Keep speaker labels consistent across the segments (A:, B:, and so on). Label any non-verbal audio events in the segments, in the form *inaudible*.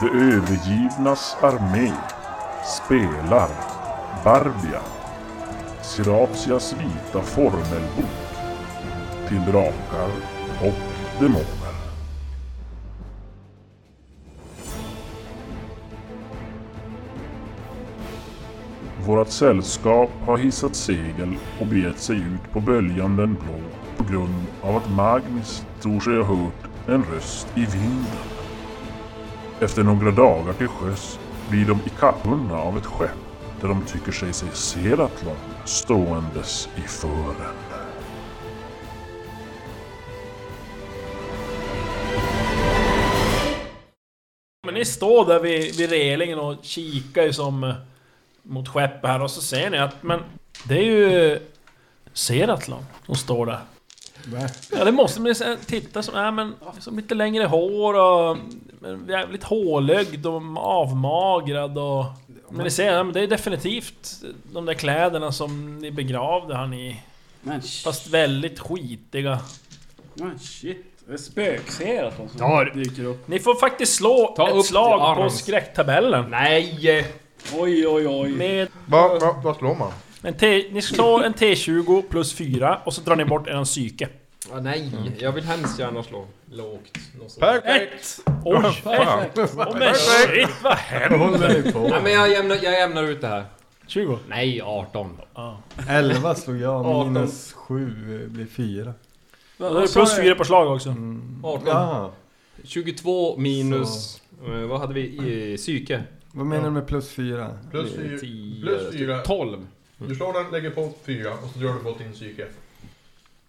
A: De övergivnas armé spelar Barbia, Siratias vita formelbok till drakar och demoner. Vårat sällskap har hissat segel och begett sig ut på böljanden blå på grund av att Magnus tror sig ha hört en röst i vinden. Efter några dagar till sjöss blir de icappbundna av ett skepp där de tycker sig se Seratlon ståendes i fören.
B: Men ni står där vid, vid relingen och kikar ju som eh, mot skeppet här och så ser ni att men det är ju Seratlon som står där.
C: Va?
B: Ja det måste man ju se- titta som, äh, men, som lite längre hår och men, jävligt hålögd och avmagrad och... Men ni ser, ja, men det är definitivt de där kläderna som ni begravde han i.
D: Men, sh-
B: Fast väldigt skitiga.
D: men shit. Det alltså. är spökseraton som
C: Tar.
D: dyker upp.
B: Ni får faktiskt slå
E: Ta upp
B: ett slag på
E: arms.
B: skräcktabellen.
E: Nej!
D: Oj, oj, oj.
B: Med
C: Va, va, vad slår man?
B: En T, ni slår en T20 plus 4 och så drar ni bort en psyke.
E: Ja, nej, jag vill hemskt gärna slå lågt. någonstans.
C: Perfekt!
B: Oj!
C: Fan.
B: Oh, men shit vad hemskt!
C: Vad håller du på?
E: Nej
C: *laughs*
E: men jag jämnar, jag jämnar ut det här.
B: 20?
E: Nej, 18.
C: 11 slog jag, minus 7 blir 4.
B: Då är det plus 4 på slag också.
C: Mm.
E: 18.
C: Jaha.
E: 22 minus... eh, vad hade vi i psyke?
C: Vad menar du med plus 4?
F: Plus
E: Eh,
F: 4.
E: tio-
F: Plus 4.
E: 12.
F: Du slår den, lägger på 4 och så drar du på din psyke.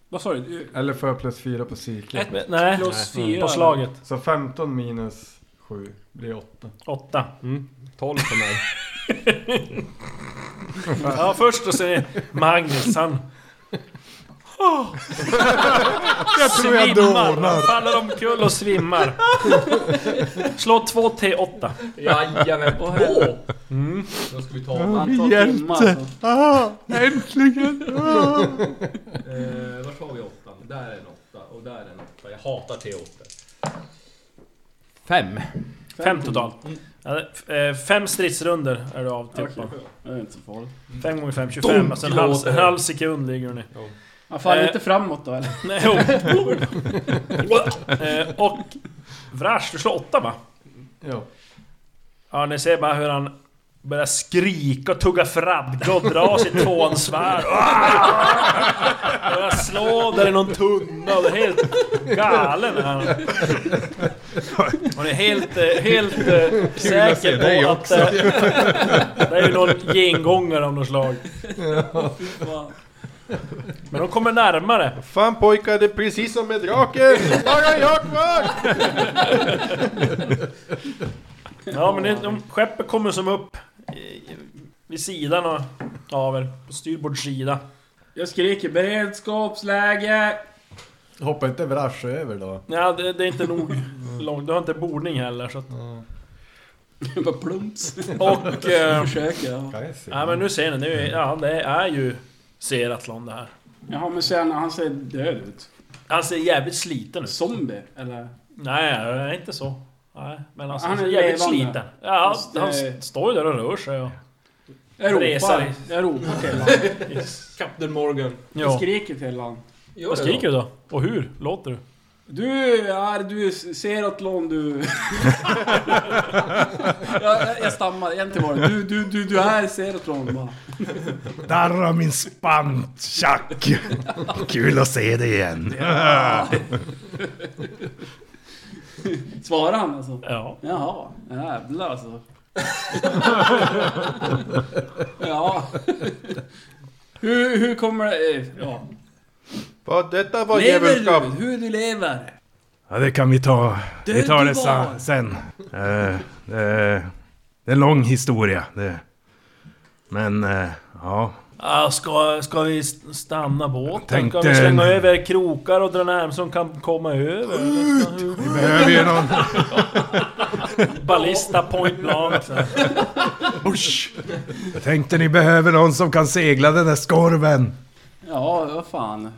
D: Vad sa du?
C: Eller får jag plus 4 på cykeln?
B: Men, nej,
D: Plus
E: Nej.
D: fyra.
B: på slaget.
C: Så 15 minus 7 blir 8.
B: 8.
E: 12 för mig.
B: Ja, först då ser ni Magnus, han... jag
C: tror *laughs* jag dånar.
B: faller omkull och svimmar. Slå 2 T8.
E: *laughs* Jajamän, på två! Mm. Då ska vi ta...
D: Antal timmar alltså.
C: Ah, äntligen!
E: Eh, vart har vi åttan? Där är en åtta och där är en åtta. Jag hatar T8. Fem.
B: 5 totalt. 5 stridsrunder är du avtippad.
D: Det är inte så farligt.
B: 5 gånger 5, 25. Alltså en halv,
E: låter.
B: en halv sekund ligger hon i.
D: Han faller
B: Eh.
D: inte framåt då
E: *laughs*
D: eller?
B: Nej, *laughs* jo. Eh, och Vrash, du slår åtta va?
C: Ja.
B: Ja, ni ser bara hur han börjar skrika och tugga fradga och dra sitt tvåansvärd. Ah! *laughs* Börjar slå där i någon tunna och det är helt galen är han. Och är helt, eh, helt eh, säker på att eh, *laughs* det är ju någon gengångare av något slag.
D: Fan.
B: Men de kommer närmare.
F: Fan pojkar, det är precis som med draken! Bara jag kvar!
B: Ja men det, de, skeppet kommer som upp eh, vid sidan av, av er, på styrbord sida.
D: Jag skriker beredskapsläge!
C: Hoppa inte Vrash över då.
B: Ja, det, det är inte
D: *laughs*
B: nog långt, du har inte bordning heller så att,
D: Jag bara plumps.
B: Och... Eh,
D: *laughs* Försöker jag.
C: Kan jag se?
B: ja men nu ser ni, det är, ju- ja, det är ju Seratlon det här.
D: Jaha men sen, han ser död ut.
B: Han ser jävligt sliten ut.
D: Zombie? Eller?
B: Nej, det är inte så. Nej, men alltså,
D: Han
B: han
D: är
B: är jävligt
D: levande.
B: sliten. Ja,
D: Fast det-
B: han s- står ju där och rör sig och...
D: Jag
B: Resa
D: ropar.
B: dig.
D: Jag ropar till honom.
E: Captain Morgan.
D: Jag
B: Ja.
D: skriker till honom.
E: Gör
B: Vad
E: det
B: skriker
E: då.
B: du då? Och hur låter du?
D: Du är... Du ser åt
B: *laughs*
D: lån du... jag, jag stammar egentligen bara. Du, du, du, du är Seratlon bara.
G: Darra min spant, tjack! Kul att se dig igen.
D: Svarar han alltså?
B: Ja.
D: Jaha, jävlar alltså. ja. hur, hur kommer det... eh, Ja.
F: Vad detta var
D: Lever
F: djävulskap!
D: du? Hur du lever?
G: Ja, det kan vi ta. Vi tar
D: du
G: det
D: var.
G: sa- sen. Eh, eh, det är en lång historia. Det. Men, eh, ja.
B: Ah, ska, ska vi st- stanna båten?
G: Tänkte-
B: Ska vi slänga över krokar och dra närmst som kan komma över? Eller ska vi-
G: Vi behöver ju någon...
D: *laughs*
B: Ballista point blank. så här.
G: Usch. Jag tänkte ni behöver någon som kan segla den där skorven.
D: Ja, vad fan.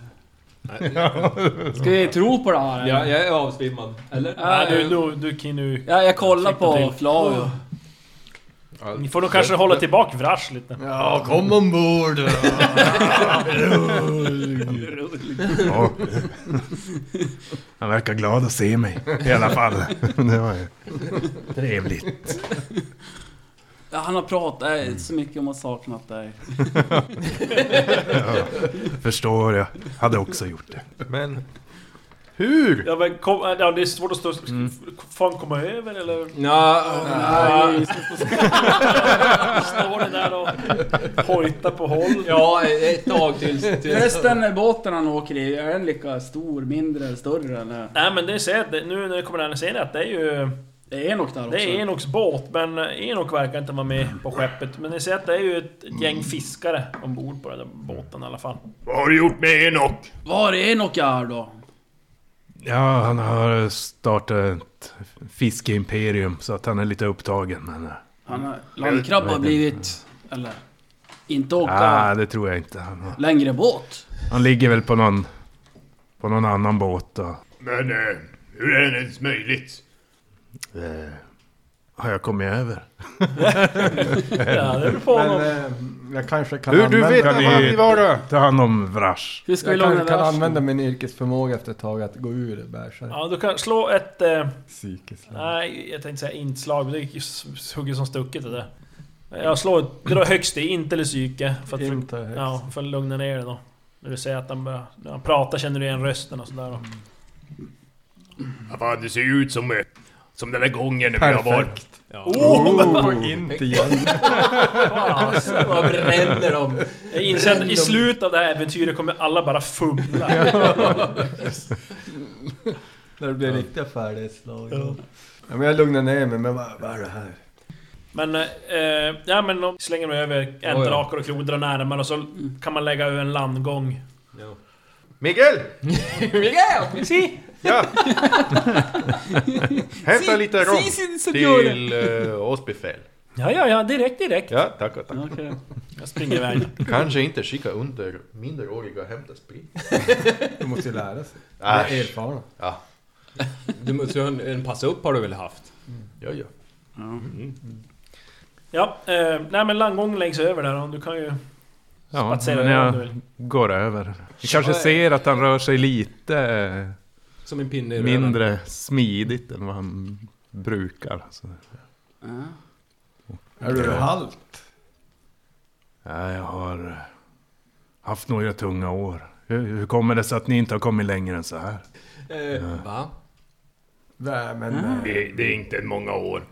D: Ska vi tro på det här? eller?
E: Ja, jag är avsvimmad. Eller?
D: Ja,
B: Nej, du, du, du kan ju...
D: Ja, jag kollar
B: Sikta
D: på
B: till.
D: Flavio.
B: Ni får nog kanske hålla tillbaka Vrash lite.
C: Ja, kom ombord!
G: Ja. Han verkar glad att se mig i alla fall. Det var ju trevligt.
D: Ja, han har pratat eh, så mycket om att saknat dig.
G: Förstår, jag hade också gjort det.
F: Men hur?
B: Ja, men kom, ja, det är svårt att stå... Fan komma över eller?
D: Nej,
B: *laughs* Står det där och hojtar på håll?
E: Ja, ett tag tills... tills
D: Förresten, båten han åker i, är den lika stor, mindre, eller större eller?
B: Nej men det ser jag, att det- nu när det kommer där, ser ni att det är ju...
D: Det är Enok där också.
B: Det är Enoks båt, men eh, Enok verkar inte vara med på skeppet. Men ni ser att det är ju ett ett gäng fiskare ombord på den där båten i alla fall.
G: Vad har du gjort med Enoch?
D: Var är Enok här då?
G: Ja, han har startat ett fiskeimperium så att han är lite upptagen. Men, eh,
D: Han har, landkrabba har blivit... Eller? Inte åka
G: ah, det tror jag inte. Han, har-
D: längre båt?
G: han ligger väl på någon, på någon annan båt. Och,
H: Men eh, hur är det ens möjligt?
G: eh, har jag kommit över?
B: Ja, det är på
C: Men
B: honom.
C: eh, jag kanske kan
F: Hur du
C: använda...
F: vet att
G: ni-
F: han vi var då?
G: Ta hand om Vrash.
D: Hur ska vi
C: jag
D: låna
C: kanske kan
D: vers?
C: använda min yrkesförmåga efter ett tag att gå ur bärsärk.
B: Ja, du kan slå ett... Eh,
C: Psykiskt.
B: nej, jag tänkte säga inslag, men det gick ju s- hugget som stucket det där. Jag slår... Dra högst i, inte eller psyke. För att,
C: Inte högst.
B: ja, för att lugna ner det då. När du ser att han börjar... När han pratar känner du igen rösten och sådär. då.
H: Ja, fan, det ser ju ut som, eh, som den där gången när vi har varit...
C: Perfekt.
H: *laughs*
F: Oh, inte igen.
E: Vad bränner de?
B: Jag inser att i slutet av det här äventyret kommer alla bara fumla.
C: När det blir riktiga färdighetslag. Ja. men jag lugnar ner mig, men vad, vad är det här?
B: Men... eh, Eh, ja men de slänger mig över ändrakar och klodrar närmare och så
F: Mm.
B: kan man lägga över en landgång.
F: Miguel! Ja! Hämta lite rom
D: Si, si, si, gör
F: till eh, oss befäl.
B: Ja, ja, ja, direkt, direkt.
F: Ja, tack och tack.
D: Okej.
B: *laughs* Jag springer iväg.
F: Kanske inte skicka under minderåriga att hämta sprit.
C: Du måste ju lära sig. Du är
F: Äsch.
C: erfarna.
F: Ja,
E: Du måste ju ha en, en passa upp har du väl haft?
F: ja, ja.
B: Ja, eh, nej men landgången läggs över där och du kan ju
G: Ja,
B: spatsera
G: men
B: över om du
G: jag
B: vill.
G: går över. Vi kanske ser att han rör sig lite... eh,
E: Som en pinne i röven.
G: mindre smidigt än vad han brukar. Så,
D: Ja.
C: Är du halt?
G: ja, jag har eh, haft några tunga år. Hur, hur kommer det sig att ni inte har kommit längre än så här?
E: Eh, va?
C: Nej, men... eh,
H: Det, det är inte många år.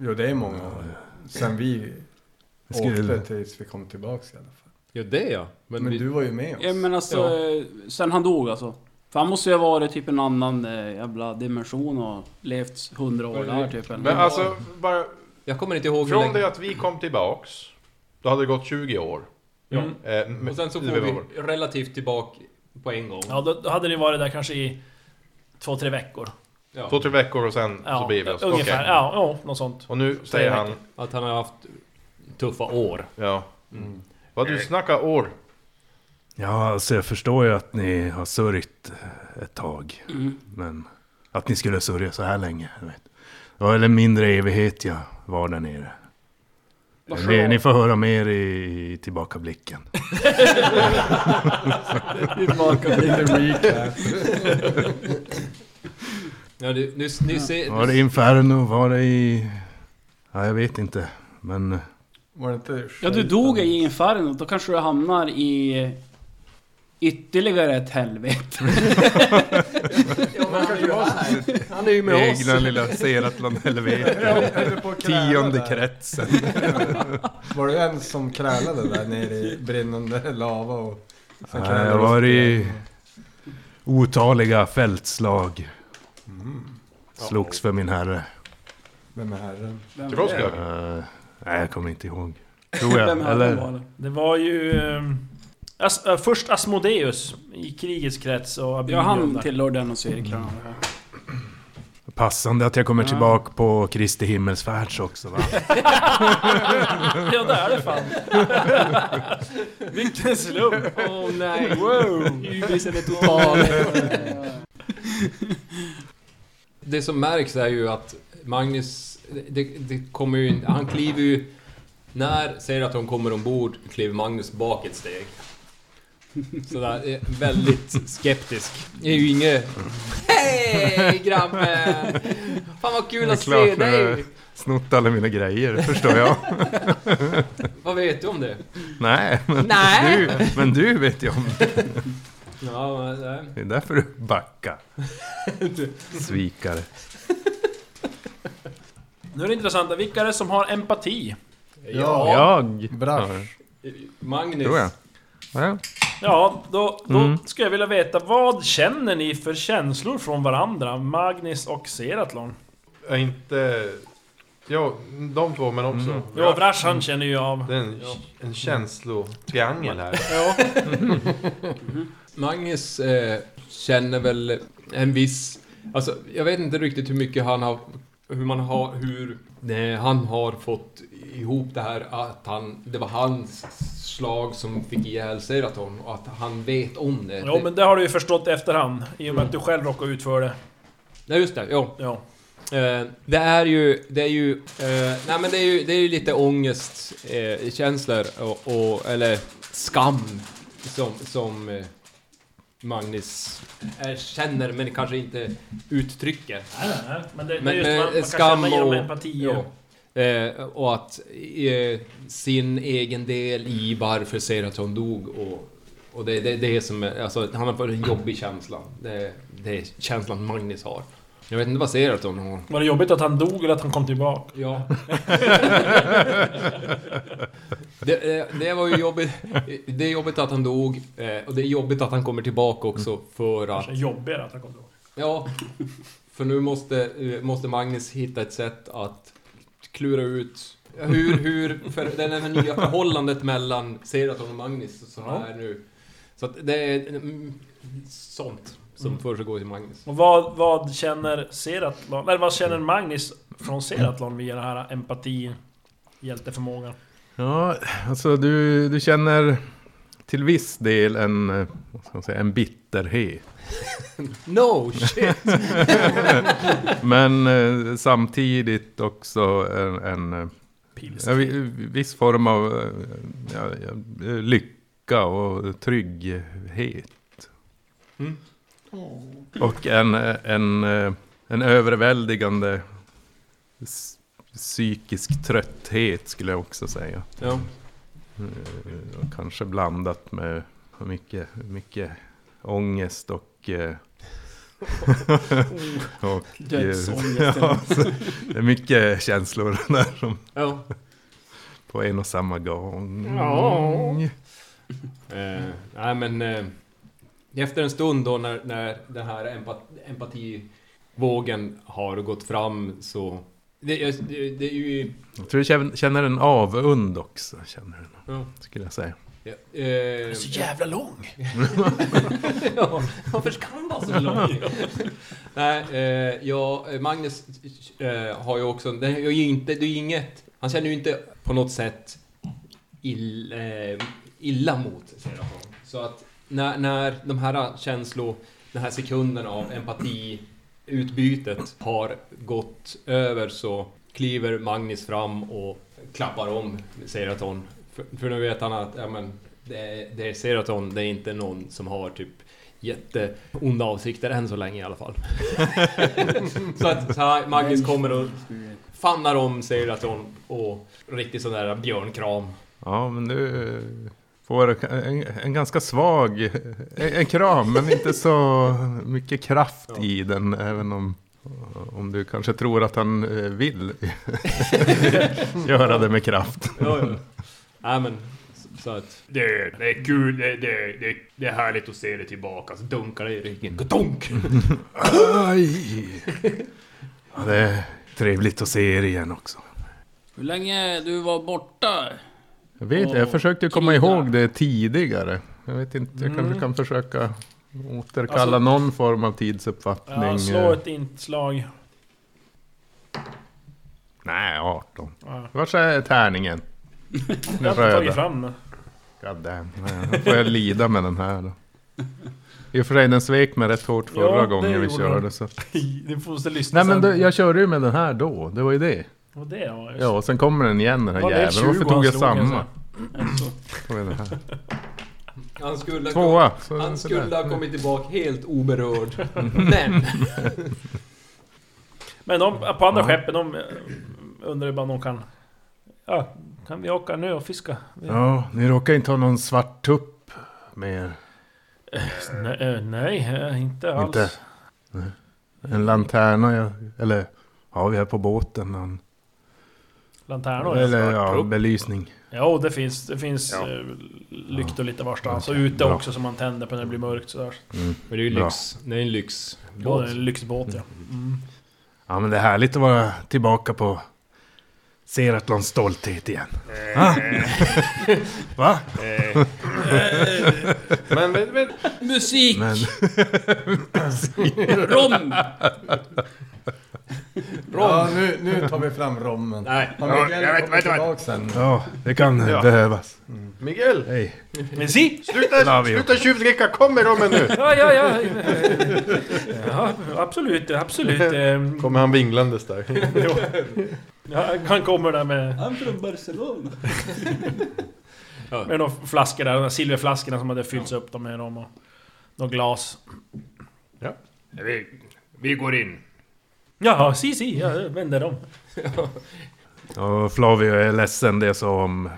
C: Jo, det är många år. Sen vi
G: Jag skulle-
C: åkte tills vi kom tillbaks i alla fall.
E: Ja, det ja. Men,
C: Men
E: vi,
C: du var ju med oss. *laughs*
D: Ja, men alltså, eh, sen han dog alltså. För han måste ju ha varit typ en annan eh, jävla dimension och levt hundra år där typ. Eller?
F: Men alltså, bara
E: jag kommer inte ihåg hur
F: från
E: länge-
F: det att vi kom tillbaks, då hade det gått 20 år.
B: Mm.
F: Eh, men-
E: Och sen så
F: det
E: får
F: var-
E: vi relativt tillbaka på en gång.
B: Ja, då, då hade ni varit där kanske i två, tre veckor.
E: Ja.
F: Två, tre veckor och sen
B: Ja,
F: så beger vi oss.
B: Ungefär,
F: Okej.
B: ja, ja, något sånt.
F: Och nu säger han,
E: Att han har haft tuffa år. Mm.
F: ja. Vad du snackar år.
G: Ja, alltså jag förstår ju att ni har sörjt eh, ett tag.
D: Mm.
G: Men att ni skulle sörja så här länge. Jag vet. Det var väl en mindre evighet jag var där nere. Ni, ni får höra mer i, i tillbakablicken.
E: Ja, du, nu, nu ser...
G: Var det Inferno? Var det i... Ja, jag vet inte. Men...
C: Var det inte
D: Ja, du dog i inferno. Då kanske du hamnar i ytterligare ett helvete.
G: Han är ju med oss. Egna lilla Seratlan helvete. Tionde kretsen.
C: Var du en som krälade där nere i brinnande lava och... sen
G: Nej,
C: krälade
G: jag
C: du
G: var i
C: spjärn?
G: otaliga fältslag. Mm. Slogs för min herre.
C: Vem är herren?
D: Vem,
F: Till oss Björk.
G: Eh, nej, jag kommer inte ihåg. Tror
D: vem
G: jag.
D: hade det
G: Eller?
D: varit?
B: Det var ju... ehm, As, eh, först Asmodeus i krigets krets och
D: Ja,
B: Abyron
D: han
B: där.
D: tillhör den och cirklarna.
G: Passande att jag kommer
D: Ja.
G: tillbaka på Kristi himmelsfärds också va?
B: Ja, det är det fan. Vilken slump.
D: Åh nej, wow! Ybisen är total.
E: *laughs* Det som märks är ju att Magnus, det, det kommer ju, in- han kliver ju... När säger att de kommer ombord kliver Magnus bak ett steg. Sådär, är väldigt skeptisk. Det är ju inget... Hej grabben! Fan vad kul att
G: klart
E: se
G: det
E: dig!
G: är. Snott alla mina grejer, förstår jag.
E: Vad vet du om det?
G: Nej, men,
E: Nej.
G: Du, men du vet ju om det.
E: Ja, men, nej.
G: Det är därför du backar. Svikare.
B: Nu är det intressanta, vilka är det som har empati?
E: Ja,
G: Jag?
C: Brash.
E: Magnus.
G: Tror jag. Ja.
B: Ja, då, då
G: Mm.
B: skulle jag vilja veta vad känner ni för känslor från varandra? Magnus och Seratlon.
F: Ja, inte... Ja, de två men
E: Mm.
F: också.
B: Ja, Vrash han känner ju av...
F: Det är en, en känslotriangel här.
E: Magnus eh, känner väl en viss... Alltså, jag vet inte riktigt hur mycket han har... Hur man har... Hur eh, han har fått ihop det här att han... Det var hans slag som fick ihjäl Seraton och att han vet om det.
B: Jo, men det har du ju förstått i efterhand. I och med att du själv råkade ut för det.
E: Nej, just det. Ja.
B: Ja.
E: Eh, det är ju... Det är ju... Eh, nej, men det är ju, det är ju lite ångestkänslor eh, känslor och, och... Eller skam som... som eh, Magnus eh, känner men kanske inte uttrycker.
B: Nej, nej, men det, det
E: Men
B: är
E: med
B: just man, man kan
E: skam
B: känna genom
E: och-
B: empati.
E: Ja.
B: Och,
E: Eh, och att eh, sin egen del i varför Seraton dog och, och det är det, det som är, alltså han har fått en jobbig känsla. Det, det är känslan Magnus har. Jag vet inte vad Seraton har.
B: Var det jobbigt att han dog eller att han kom tillbaka?
E: *laughs* Ja. det, eh, det var ju jobbigt. Det är jobbigt att han dog eh, och det är jobbigt att han kommer tillbaka också för att
B: Kanske jobbigare att han kom tillbaka.
E: Ja, för nu måste, eh, måste Magnus hitta ett sätt att klura ut hur, hur, för det här nya förhållandet mellan Seraton och Magnus som
B: Ja.
E: är nu. Så att det är mm, sånt som försiggår i Magnus.
B: Och vad, vad känner Seratlon... Eller vad känner Magnus från Seratlon via den här empati... Hjälteförmågan?
G: Ja, alltså du, du känner till viss del en, eh, vad ska man säga, en bitterhet.
E: No shit!
G: Men eh, samtidigt också en, en eh,
B: Pils.
G: ja, vi- viss form av eh, ja, ja, lycka och trygghet. Och en, eh, en, eh, en överväldigande s- psykisk trötthet skulle jag också säga.
E: Ja.
G: Eh, och Kanske blandat med mycket, mycket ångest och... eh, och eh, *laughs* ja,
D: Dödsångesten.
G: så det är mycket känslor *laughs* där som
E: ja.
G: på en och samma gång.
E: Ja. Eh, nej men... Eh, efter en stund då när, när den här empat- empativågen har gått fram så... Det, är- det, det är ju...
G: Jag tror jag känner- känner en avund också, känner den,
E: Ja.
G: skulle jag säga.
E: Ja, eh,
B: Så jävla lång!
E: *laughs* ja, varför ska han vara så *laughs* lång? Nej, eh, ja, Magnus eh, har ju också... Det är ju inte... Det är ju inget... Han känner ju inte på något sätt ill, eh, illa mot Serafon. Så att när, när de här känslor... Den här sekunden av empati utbytet har gått över så kliver Magnus fram och klappar om Seraton. För, för nu vet han att ja, men, det, är, det är Seraton, det är inte någon som har typ jätteonda avsikter än så länge i alla fall.
H: *laughs*
E: så att så här, Magnus kommer och fannar om Seraton och riktigt sån där björnkram.
G: Ja, men du eh, får en, en ganska svag, en, en kram, men inte så mycket kraft i den, även om, om du kanske tror att han eh,
E: *laughs*
G: vill göra det med kraft.
E: Ja, ja. Nej, men så- så att...
H: Det, det är kul, det, det, det, det är härligt att se dig tillbaka. Så dunkar det i ryggen. Dunk!
G: Aj! Ja, det är trevligt att se er igen också.
D: Hur länge du var borta?
G: Jag vet
D: Och
G: jag försökte komma
D: kriga.
G: ihåg det tidigare. Jag vet inte, jag kanske kan försöka återkalla
B: Mm. Alltså-
G: någon form av
B: Ja,
G: tidsuppfattning.
B: slå
G: eh,
B: ett inslag.
G: Nej, 18.
B: Ja.
G: Vart är tärningen?
B: Jag
G: Den
B: har inte tagit
G: röda.
B: fram den.
G: God damn. Nej, då får jag lida med den här då. I och för sig, den svek mig rätt hårt förra
B: Ja, det
G: gången vi
B: gjorde
G: körde.
B: den.
G: Så.
B: Ni får lyssna
G: Nej men
B: sen.
G: du, jag körde ju med den här då, det var ju det.
B: Vad det var just.
G: Ja, och sen kommer den igen den här
B: Var det
G: jäveln.
B: 20
G: Varför tog
B: han
G: jag
B: slog,
G: samma?
B: alltså?
D: Alltså,
G: Tog jag den
B: *laughs*
G: här.
E: Han skulle, ha,
G: Tvåa! Så,
E: han
G: så
E: skulle
G: där.
E: ha kommit tillbaka
H: *laughs*
E: helt oberörd. Men!
B: Men de, på andra skeppen, de eh, undrar ju bara om de kan... Ja, kan vi åka nu och fiska? Vi,
G: Ja, ni råkar inte ha någon svart tupp med er?
B: nej, eh, nej, eh, inte alls.
G: Inte? Nej. En lanterna, ja, eller? Ja, vi är på båten. Men,
B: Lanternor?
G: eller ja,
H: tupp.
G: belysning.
B: Jo, det finns, det finns eh, lyktor lite varstans. Och ute
G: Bra.
B: också som man tänder på när det blir mörkt sådär.
E: Men det är ju
G: Bra.
E: lyx. Det är en lyx.
B: Jo, det är en lyxbåt ja.
G: Ja, men det är härligt att vara tillbaka på Seratlons stolthet igen. Ah, Va? Va?
F: Men vet, vet,
D: musik!
G: Men,
D: *laughs* Rom!
C: Ja, nu, nu tar vi fram rommen.
E: Nej.
C: Har
H: Ja,
C: Mikael
H: jag vet,
C: kommit
H: vet,
C: tillbaka sen?
G: ja, det kan behövas.
F: Miguel!
G: Hej.
B: Men si!
G: Love
F: Sluta,
G: you.
F: sluta tjuvdricka, kom med rommen nu!
B: Ja, ja, ja. eh, ja absolut, absolut. ehm,
F: Kommer han vinglandes där?
B: jo. Ja, han kommer där med,
D: Han från Barcelona.
B: med de flaskor där, de där silverflaskorna som hade fyllts upp dem med dem och något glas.
H: Vi, vi går in.
B: Ja, si, si, jag vänder dem.
G: Ja, Flavio, jag är ledsen det som...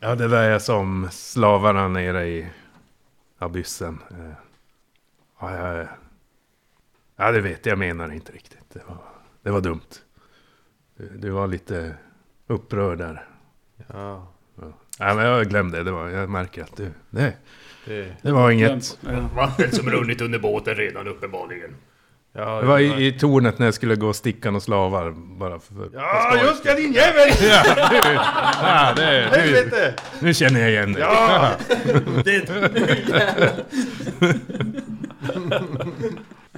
G: Ja, det där jag som slavarna nere i abyssen. Eh, Ja, jag, ja det vet jag, jag menar inte riktigt. Det var, det var dumt. Du, du var lite upprörd där.
F: Ja,
G: Nej, men jag glömde det. det. Var, jag märker att du... Det,
F: det,
G: det var inget.
D: Ja.
H: Vatten som runnit under båten redan uppenbarligen.
F: ja,
G: Det var i, i tornet när jag skulle gå och sticka och slavar. Bara för,
F: Ja, just det, din jävel!
G: *laughs* ja, det, nu,
F: Helvete!
G: nu känner jag igen dig.
F: Ja!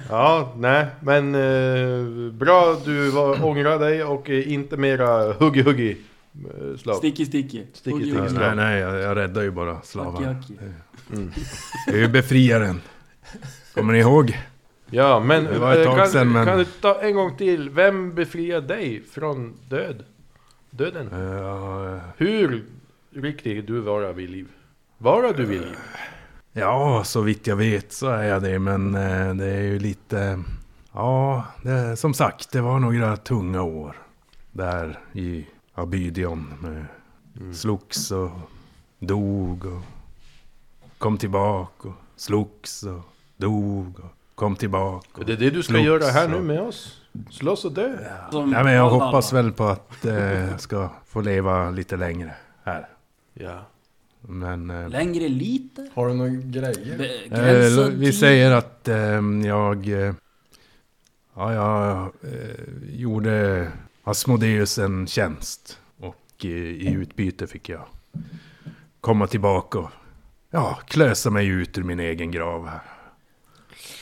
F: Ja, nej, men eh, bra du var, ångrar dig och eh, inte mera huggy-huggy eh, slav.
D: Sticky sticky.
F: Sticky,
D: Huggy,
F: sticky.
D: huggy.
G: Nej, nej, jag, jag räddar ju bara slavar.
D: Hacki, hacki.
G: Jag är ju befriaren. Kommer ni ihåg?
F: Ja, men,
G: Det var ett
F: eh,
G: tag
F: kan,
G: sedan, men-
F: kan du ta en gång till? Vem befriar dig från död? Döden?
G: Eh,
F: Hur riktig du vara vid liv? Vara du vid liv?
G: Ja, så vitt jag vet så är jag det, men eh, det är ju lite... Ja, det, som sagt, det var några tunga år. Där i Abydion. Med Slogs och dog och kom tillbaka och slogs och dog och kom tillbaka.
F: Och
G: Och...
F: det är det du ska
G: Klokt,
F: göra här
G: så.
F: nu med oss. Slåss och dö.
D: Som
G: Nej, men jag
D: alla
G: hoppas
D: andra.
G: väl på att eh, jag ska få leva lite längre här.
F: Ja.
G: Men... eh,
D: Längre lite?
C: Har du några grejer?
D: Be-
G: Eh,
D: Gränsad
G: vi
D: tid?
G: säger att ehm, jag... Eh, ja, jag eh, gjorde Asmodeus en tjänst. Och eh, i utbyte fick jag komma tillbaka och ja, klösa mig ut ur min egen grav här.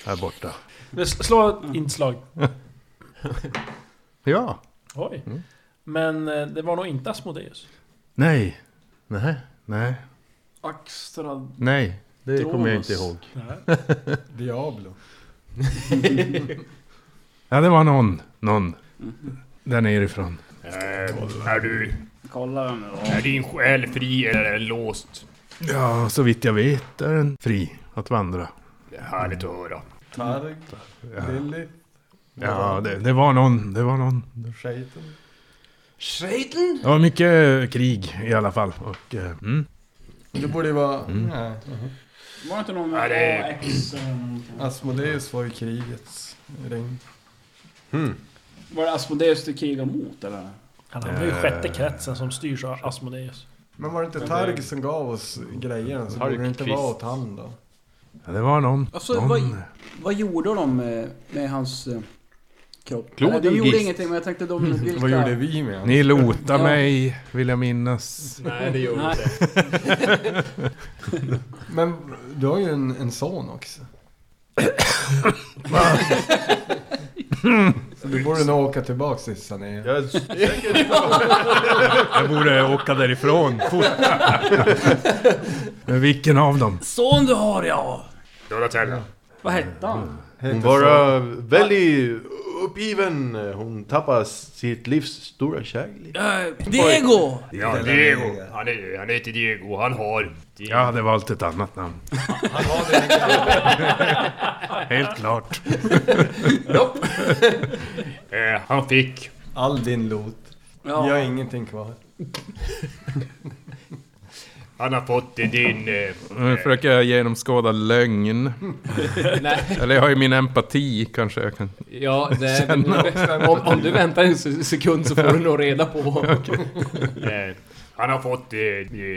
G: Här borta.
B: Men s- Slå ett inslag.
G: Ja.
B: Oj.
H: Mm.
B: Men eh, det var nog inte Asmodeus.
G: Nej. Nej. Nej.
D: Axtra...
G: Nej. Det kommer jag inte
D: Dronos.
G: ihåg.
C: Diablo?
G: Ja, det var någon. Någon.
D: Mm-hmm.
G: Där nerifrån.
H: Eh, är, du,
D: Kolla vem det var.
H: är din själ fri eller är den låst?
G: Ja, så vitt jag vet är den fri att vandra.
H: Det är härligt att höra.
C: Targ?
F: Mm.
C: Lilly?
G: Ja, det, det var någon. Det var någon.
F: Mm.
C: Shaiten?
E: Schreiten?
G: Det var mycket eh, krig i alla fall. Och, eh, mm.
C: Det borde ju vara...
F: Mm.
C: Nej.
D: Var det inte någon
H: Ja,
D: med
H: det-
D: AX? eh,
C: Asmodeus var ju krigets ring.
D: Var det Asmodeus du krigade mot eller?
B: Han hamnar ju i
H: Eh.
B: sjätte kretsen som styrs av Asmodeus.
C: Men var det inte Targ som gav oss grejerna så borde det inte
F: Targqvist.
C: vara åt han då?
G: ja, det var någon.
D: Alltså, vad,
G: någon
D: vad gjorde de med, med hans eh, kropp?
F: Klod
D: Nej, de
F: i
D: gjorde
F: gist.
D: ingenting men jag tänkte
G: Mm.
D: de... Vilka...
C: Vad gjorde vi med honom?
G: ni lotar
D: Ja.
G: mig, vill jag minnas.
E: Nej, det gör vi
D: Nej.
E: inte.
C: Men du har ju
F: *laughs*
C: en, en son också. Du borde nog åka tillbaks till Sané.
F: Jag är säker
H: *laughs*
G: Jag borde åka därifrån fort. Men vilken av dem?
D: Son du har ja!
H: Donatella.
D: Vad hette han?
F: Hon var väldigt uppgiven. Hon tappade sitt livs stora kärlek.
D: Eh, Diego!
H: Ja, Diego. Han, är, han heter Diego. Han har...
G: Jag hade valt ett annat namn. *laughs* Helt klart.
H: Eh, han fick...
C: All din lot.
D: Ja.
C: Vi har ingenting kvar.
H: Han har fått eh, din... Eh,
G: Nu försöker jag
D: *laughs*
G: genomskåda lögn.
E: Nej,
G: Eller jag har ju min empati kanske jag kan...
E: ja, nej, men nu- om, om du väntar en se- sekund så får du nog reda på.
H: *laughs* eh, han har fått eh,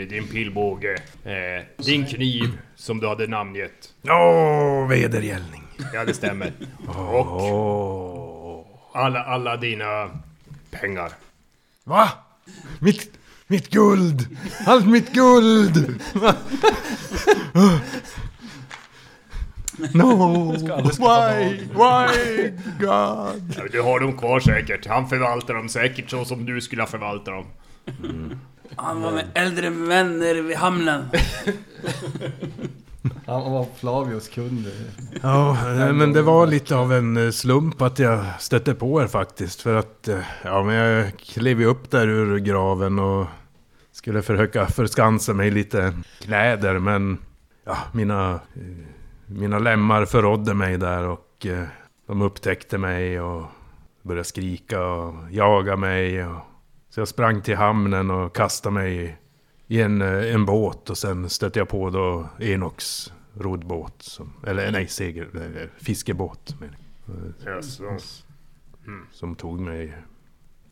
H: din pilbåge. Eh, din kniv som du hade namngett.
G: Åh, vedergällning.
H: Ja, det
E: *laughs*
H: stämmer.
G: Åh.
H: Och alla, alla dina pengar.
G: Va? Mitt, mitt guld! Allt mitt guld! Va? No! Why? Why? God!
H: Ja, Du har dem kvar säkert. Han förvaltar dem säkert så som du skulle ha förvaltat dem.
D: Han var med äldre vänner vid hamnen.
C: Han var Flavios kund.
G: Ja, eh, men det var lite av en eh, slump att jag stötte på er faktiskt. För att, eh, ja men jag klev ju upp där ur graven och skulle försöka förskansa mig i lite kläder. Men, ja, mina, eh, mina lemmar förrådde mig där och eh, de upptäckte mig och började skrika och jaga mig. Och, så jag sprang till hamnen och kastade mig i- i en, eh, en båt och sen stötte jag på då Enoks roddbåt. Som, eller nej, seger, eller fiskebåt menar jag, eh,
H: Jaså.
G: som tog mig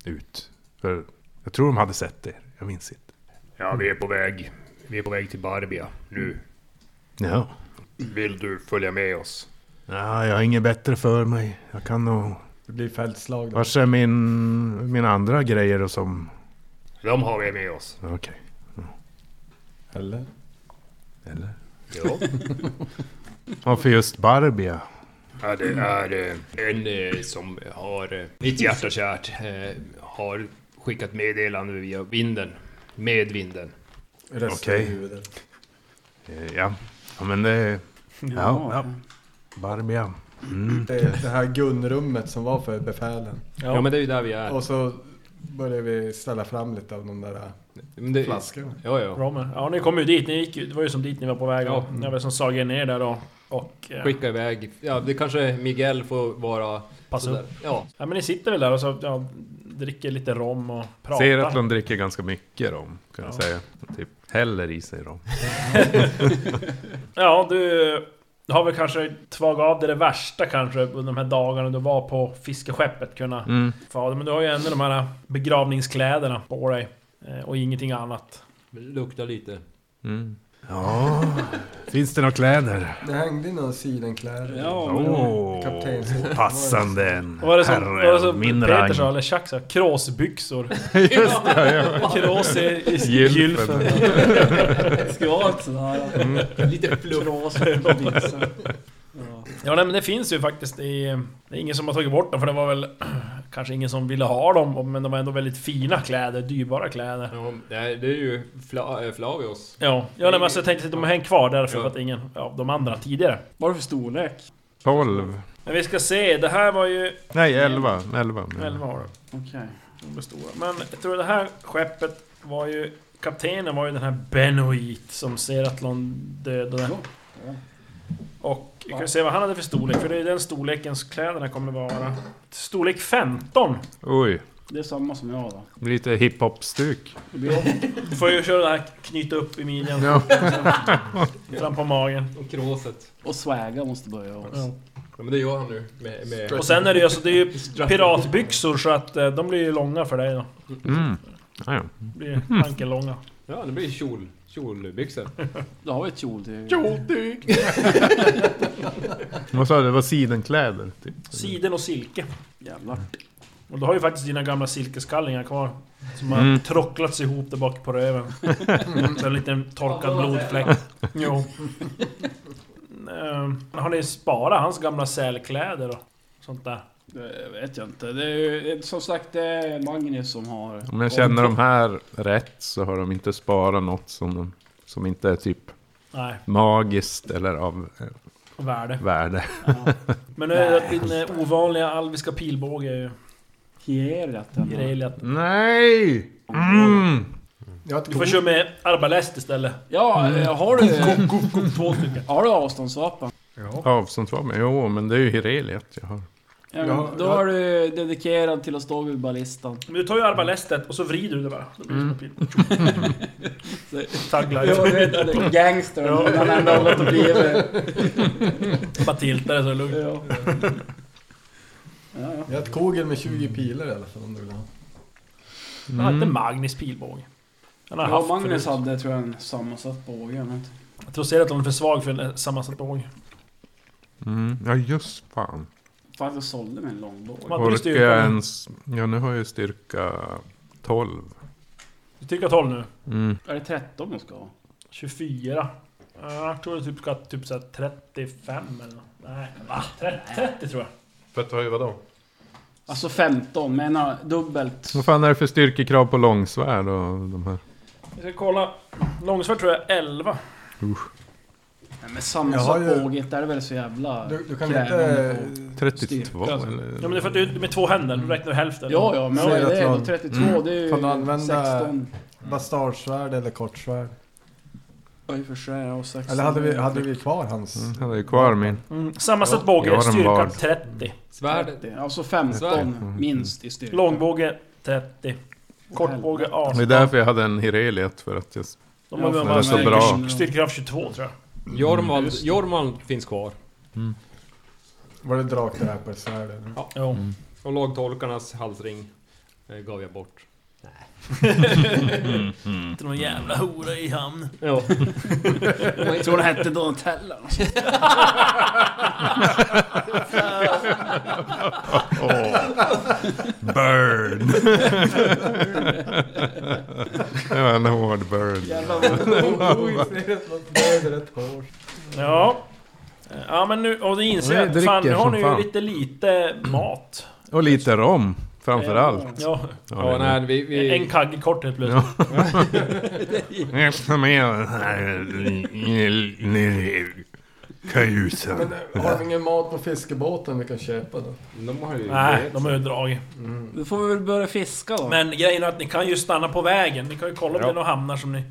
G: ut. För jag tror de hade sett det, jag minns inte.
H: Ja, vi är på väg. Vi är på väg till Barbia nu.
G: Ja.
H: Vill du följa med oss?
G: ja, jag har inget bättre för mig. Jag kan nog...
C: Det blir fältslag då.
G: Vars är min, mina andra grejer och som...
H: De har vi med oss.
G: Okej.
C: Eller?
G: Eller?
H: Ja.
G: Varför just Barbia?
H: Ja, det är eh, en eh, som har eh, mitt hjärta kärt. eh, Har skickat meddelande via vinden. Med vinden.
C: Resten
G: Okej.
C: i huvudet.
G: Eh, Ja, ja men det... Ja, ja. Barbia.
C: Det, det här gunrummet som var för befälen.
E: Ja. men det är ju där vi är.
C: Och så började vi ställa fram lite av de där
E: Men det,
C: flaskorna.
E: ja, ja.
B: Bra med. Ja, ni kom ju dit. Ni gick ju, det var ju som dit ni var på väg.
E: Ja.
B: Ja. Jag var som såg er ner där och... och eh,
E: Skicka iväg. Ja, det kanske Miguel får vara...
B: passa upp.
E: sådär. Ja.
B: Ja, men ni sitter väl där och så ja, dricker lite rom och pratar.
G: Ser att de dricker ganska mycket rom, kan jag
B: Ja.
G: säga. Typ häller i sig rom.
B: Ja, du har väl kanske tvagat av dig det värsta kanske under de här dagarna du var på fiskeskeppet kunna
G: Mm.
B: få av det. Men du har ju ändå de här begravningskläderna på dig. eh, Och ingenting annat.
E: Lukta lite.
G: Mm. Ja, finns det några kläder?
C: Det hängde ju några sidenkläder.
D: Ja,
G: Åh,
C: Kaptensrock.
G: passande en
B: Och *laughs* vad är det som, vad är
G: herre
B: det
G: av
B: som
G: min
B: Peter
G: rang.
B: sa, eller Chuck sa? Kråsbyxor.
G: *laughs* Just det, ja.
B: Krås i, i
G: Gylfen.
B: gylfen.
D: det ska vara ett sånt här. Mm. Lite flås på visen. Ja.
B: Ja nej, men det finns ju faktiskt i... Det är ingen som har tagit bort dem för det var väl... *clears throat* Kanske ingen som ville ha dem, men de var ändå väldigt fina kläder, dyrbara kläder.
E: Ja, det är det är ju Fla, eh, Flavios.
B: Ja, ja nej, men alltså, jag tänkte att de har hängt kvar därför
E: Ja.
B: för att ingen av de andra tidigare.
D: Vad är det för storlek?
G: 12.
B: Men vi ska se, det här var ju...
G: Nej, 11. 11.
B: 11 år.
D: Okej.
B: De är stora. Men jag tror det här skeppet var ju... Kaptenen var ju den här Benoit som Seratlon dödade.
D: ja.
B: Och vi kan ju se vad han hade för storlek, för det är den storlekens kläderna kommer vara. Storlek 15!
G: Oj,
D: Det är samma som jag då.
G: lite hiphop-stuk.
D: Det blir-
B: Du får ju köra det här knyta upp i midjan. *laughs*
G: Ja.
B: Fram på magen.
E: Och kråset.
D: Och swaga måste börja också.
E: Ja, men det gör han nu. Med, med
B: Och sen är det ju alltså, det är ju piratbyxor så att eh, de blir ju långa för dig då.
G: Mm. Ja, ja.
B: De blir ju ankellånga.
E: Ja, det blir kjol, kjolbyxor.
D: Då har vi ett kjoltyg.
G: Vad sa du? Det var sidenkläder? Typ.
B: Siden och silke.
D: Jävlar.
B: Och du har ju faktiskt dina gamla silkeskallingar kvar. Som har
G: Mm.
B: tråcklats ihop där bak på röven. Så en liten torkad blodfläck. *laughs* Jo. Eh, Mm, har ni sparat hans gamla sälkläder och sånt där?
D: Det vet jag inte. Det är ju som sagt det är Magnus som har...
G: Om jag känner de här rätt så har de inte sparat något som, de, som inte är typ
B: Nej,
G: magiskt eller av eh,
B: värde.
G: värde.
D: Ja.
B: Men nu är det din eh, ovanliga alviska pilbåge är ju
D: Hierat
B: grejen är att
G: Nej! Mm.
C: Jag har ett
B: Du får
C: kort.
B: köra med arbalest istället.
D: Ja,
G: Mm.
D: eh, har du...
B: *laughs* Två stycken.
D: Har du avståndsvapen?
C: Ja.
G: Avståndsvapen? Jo, men det är ju Hireliet jag har.
D: Ja,
C: Jag
D: men
C: har-
D: då
C: jag har-
D: är du dedikerad till att stå vid ballistan.
B: Men du tar ju arbalestet och så vrider du det bara. Då blir
D: Mm.
B: det som en pil.
D: Ja,
B: Taglight.
D: du vet, det är gangster. men Han har ändå hållit och blivit...
B: Bara tiltar det så är det lugnt.
D: Ja. Ja, ja.
C: Jag har ett kogel med
F: Mm.
C: 20 pilar i alla fall om du vill ha.
B: Han hade Magnus pilbåge. Han har
D: Mm. Ja,
B: haft
D: Magnus
B: förut.
D: hade tror jag en sammansatt båge eller något.
B: Jag tror säkert att de är för svag för en eh, sammansatt båge.
G: Mm. Ja, just fan.
D: Fan, jag sålde mig en lång båge.
B: Man- Vad blir
G: Orkar
B: styrkan?
G: jag ens... Ja, nu har jag ju styrka 12.
B: Du tycker att 12 nu.
G: Mm.
D: Är det 13 man ska ha?
B: 24. Ja, Jag tror det typ ska typ såhär 35 eller nåt. Nej, va? 30, 30 tror jag.
F: För att ta ju vadå?
D: Alltså 15, men ja, dubbelt.
G: Vad fan är det för styrkekrav på långsvärd och de här?
B: Vi ska kolla. Långsvärd tror jag 11.
D: Nej, men
C: Jag
D: sammansatt
C: har ju-
D: båge, det är väl så jävla
C: Du, du kan väl
D: krävande
C: inte...
D: båge.
G: 32
D: Styrka, alltså.
G: eller?
B: Ja men det är för att du med två händer, du räknar hälften.
D: Ja, ja, men vad är det?
C: Seraton.
D: Då 32,
G: Mm.
D: det är ju
C: Kan du använda-
D: 16.
F: Mm.
C: Bastardsvärd eller kortsvärd?
D: Ja, i och för sig. ja, och 16.
C: Eller hade vi, hade vi kvar hans?
G: Mm, jag hade ju kvar min.
B: Mm. Sammansatt
E: Ja,
G: jag
B: båge,
G: har en
B: styrka
G: bard.
B: 30.
E: Svärd.
D: 30, Alltså 15 minst i styrka.
B: Långbåge 30. Kortbåge
G: Det är
B: 18.
G: därför jag hade en Hireliet, för att jag...
B: De har
D: Ja,
B: väl
G: men det är
B: bara
G: så
B: styrka-
G: bra.
B: styrkekraft 22 tror jag.
E: Jormald, Jormald finns kvar.
C: Var det drakdräparsvärd eller?
B: Jo.
G: Mm.
E: Och lagtolkarnas halsring eh, gav jag bort.
B: Inte någon jävla hora i hamn.
E: Ja.
D: Jag tror det hette Donatella. *laughs*
G: Burn! *laughs* det var en hård burn.
D: Jävlar vad...
B: *laughs* Ja. Ja men nu, och det inser
G: Och
B: jag
G: det
B: att fan, nu
G: dricker
B: har
G: som
B: ni ju
G: fan.
B: lite lite mat.
G: Och lite rom, framförallt.
B: Ja,
E: Ja, nej, vi, vi,
B: en kagge kort helt plötsligt.
G: Eftersom jag är nere i kajusen.
C: Har vi ingen mat på fiskebåten vi kan köpa då?
E: de har ju
B: Nej, de har ju dragit.
D: Då får vi väl börja fiska då.
B: Men grejen är att ni kan ju stanna på vägen. Ni kan ju kolla om det är några hamnar som ni...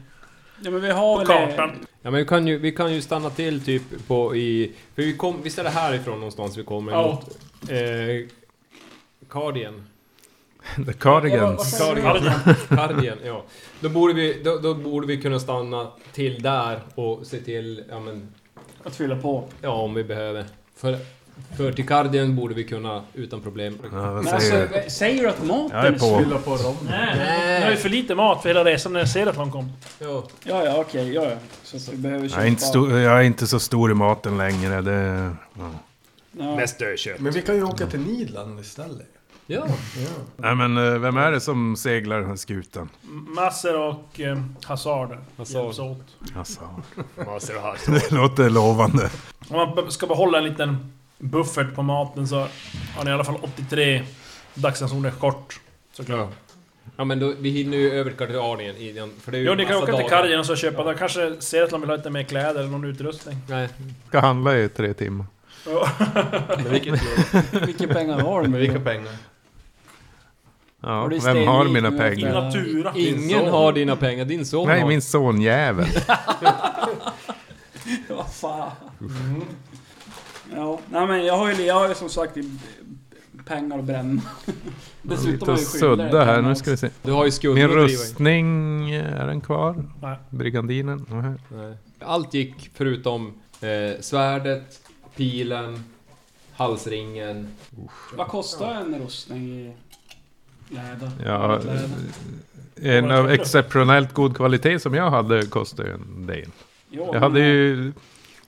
D: ja, men vi har
B: På
D: väl...
B: kartan.
E: Ja, men vi kan ju, vi kan ju stanna till typ på i... För vi kom, visst är det härifrån någonstans vi kommer?
B: Ja.
E: Mot, eh, Cardian.
G: The Cardigans.
E: Cardigan. Cardigan, ja. Då borde, vi, då, då borde vi kunna stanna till där och se till, ja men,
D: eh, Att fylla på.
E: ja om vi behöver. För, för till Cardian borde vi kunna utan problem.
G: Ja, vad
D: Men
G: säger
D: alltså,
G: du?
D: säger du att maten
G: Jag är på.
D: slut?
C: Fylla på rom.
B: Nej, ni har ju för lite mat för hela resan när jag ser att de kom.
E: Ja.
D: Ja, ja, okej, ja, ja. Så att vi behöver köpa...
G: Jag är, inte stor, jag är inte så stor i maten längre. Det, ja.
D: Ja.
H: Mest dödkött.
C: Men vi kan ju åka till Nidland istället.
E: ja.
G: Nej men eh, vem är det som seglar den här skutan?
B: Masser och eh, Hazard
E: Hazard.
B: hjälps åt.
G: Alltså, *laughs*
H: Maser och halsar.
G: det låter lovande.
B: Om man b- ska behålla en liten buffert på maten så har ni i alla fall 83 dagsransoner kort.
E: Såklart. Ja men då, vi hinner ju över Cardianien innan, för det är ju
B: Jo, ni kan
E: massa
B: åka till
E: dagar.
B: Karjen och så köpa. De kanske ser att de vill ha lite mer kläder eller någon utrustning.
E: Nej,
G: Ska handla i tre timmar.
E: men vilket...
D: Vilka pengar har du?
F: Vilka pengar?
G: Ja,
D: Och det är
G: vem har
D: stenrik
G: mina
D: nu.
B: I
G: pengar?
B: Natura.
E: Ingen har dina pengar, din son
G: Nej,
E: har.
G: min sonjävel.
D: Vad fan. Ja, nej men jag har ju, jag har ju som sagt i- pengar att bränna. Dessutom
G: Lite
D: har
G: och
D: jag ju skyldighet
G: sudda här,
D: hemma
G: nu
D: också.
G: ska vi se.
E: Du har ju skulder
G: Min
E: att driva in.
G: rustning, eh, är den kvar?
B: Nej.
G: Brigandinen? Nej.
E: Nej. Allt gick förutom eh, svärdet, pilen, halsringen.
D: Vad kostar en rustning i läder?
G: Ja,
D: Läder.
G: en av exceptionellt god kvalitet som jag hade kostade ju en del.
D: Jo,
G: Jag hade ju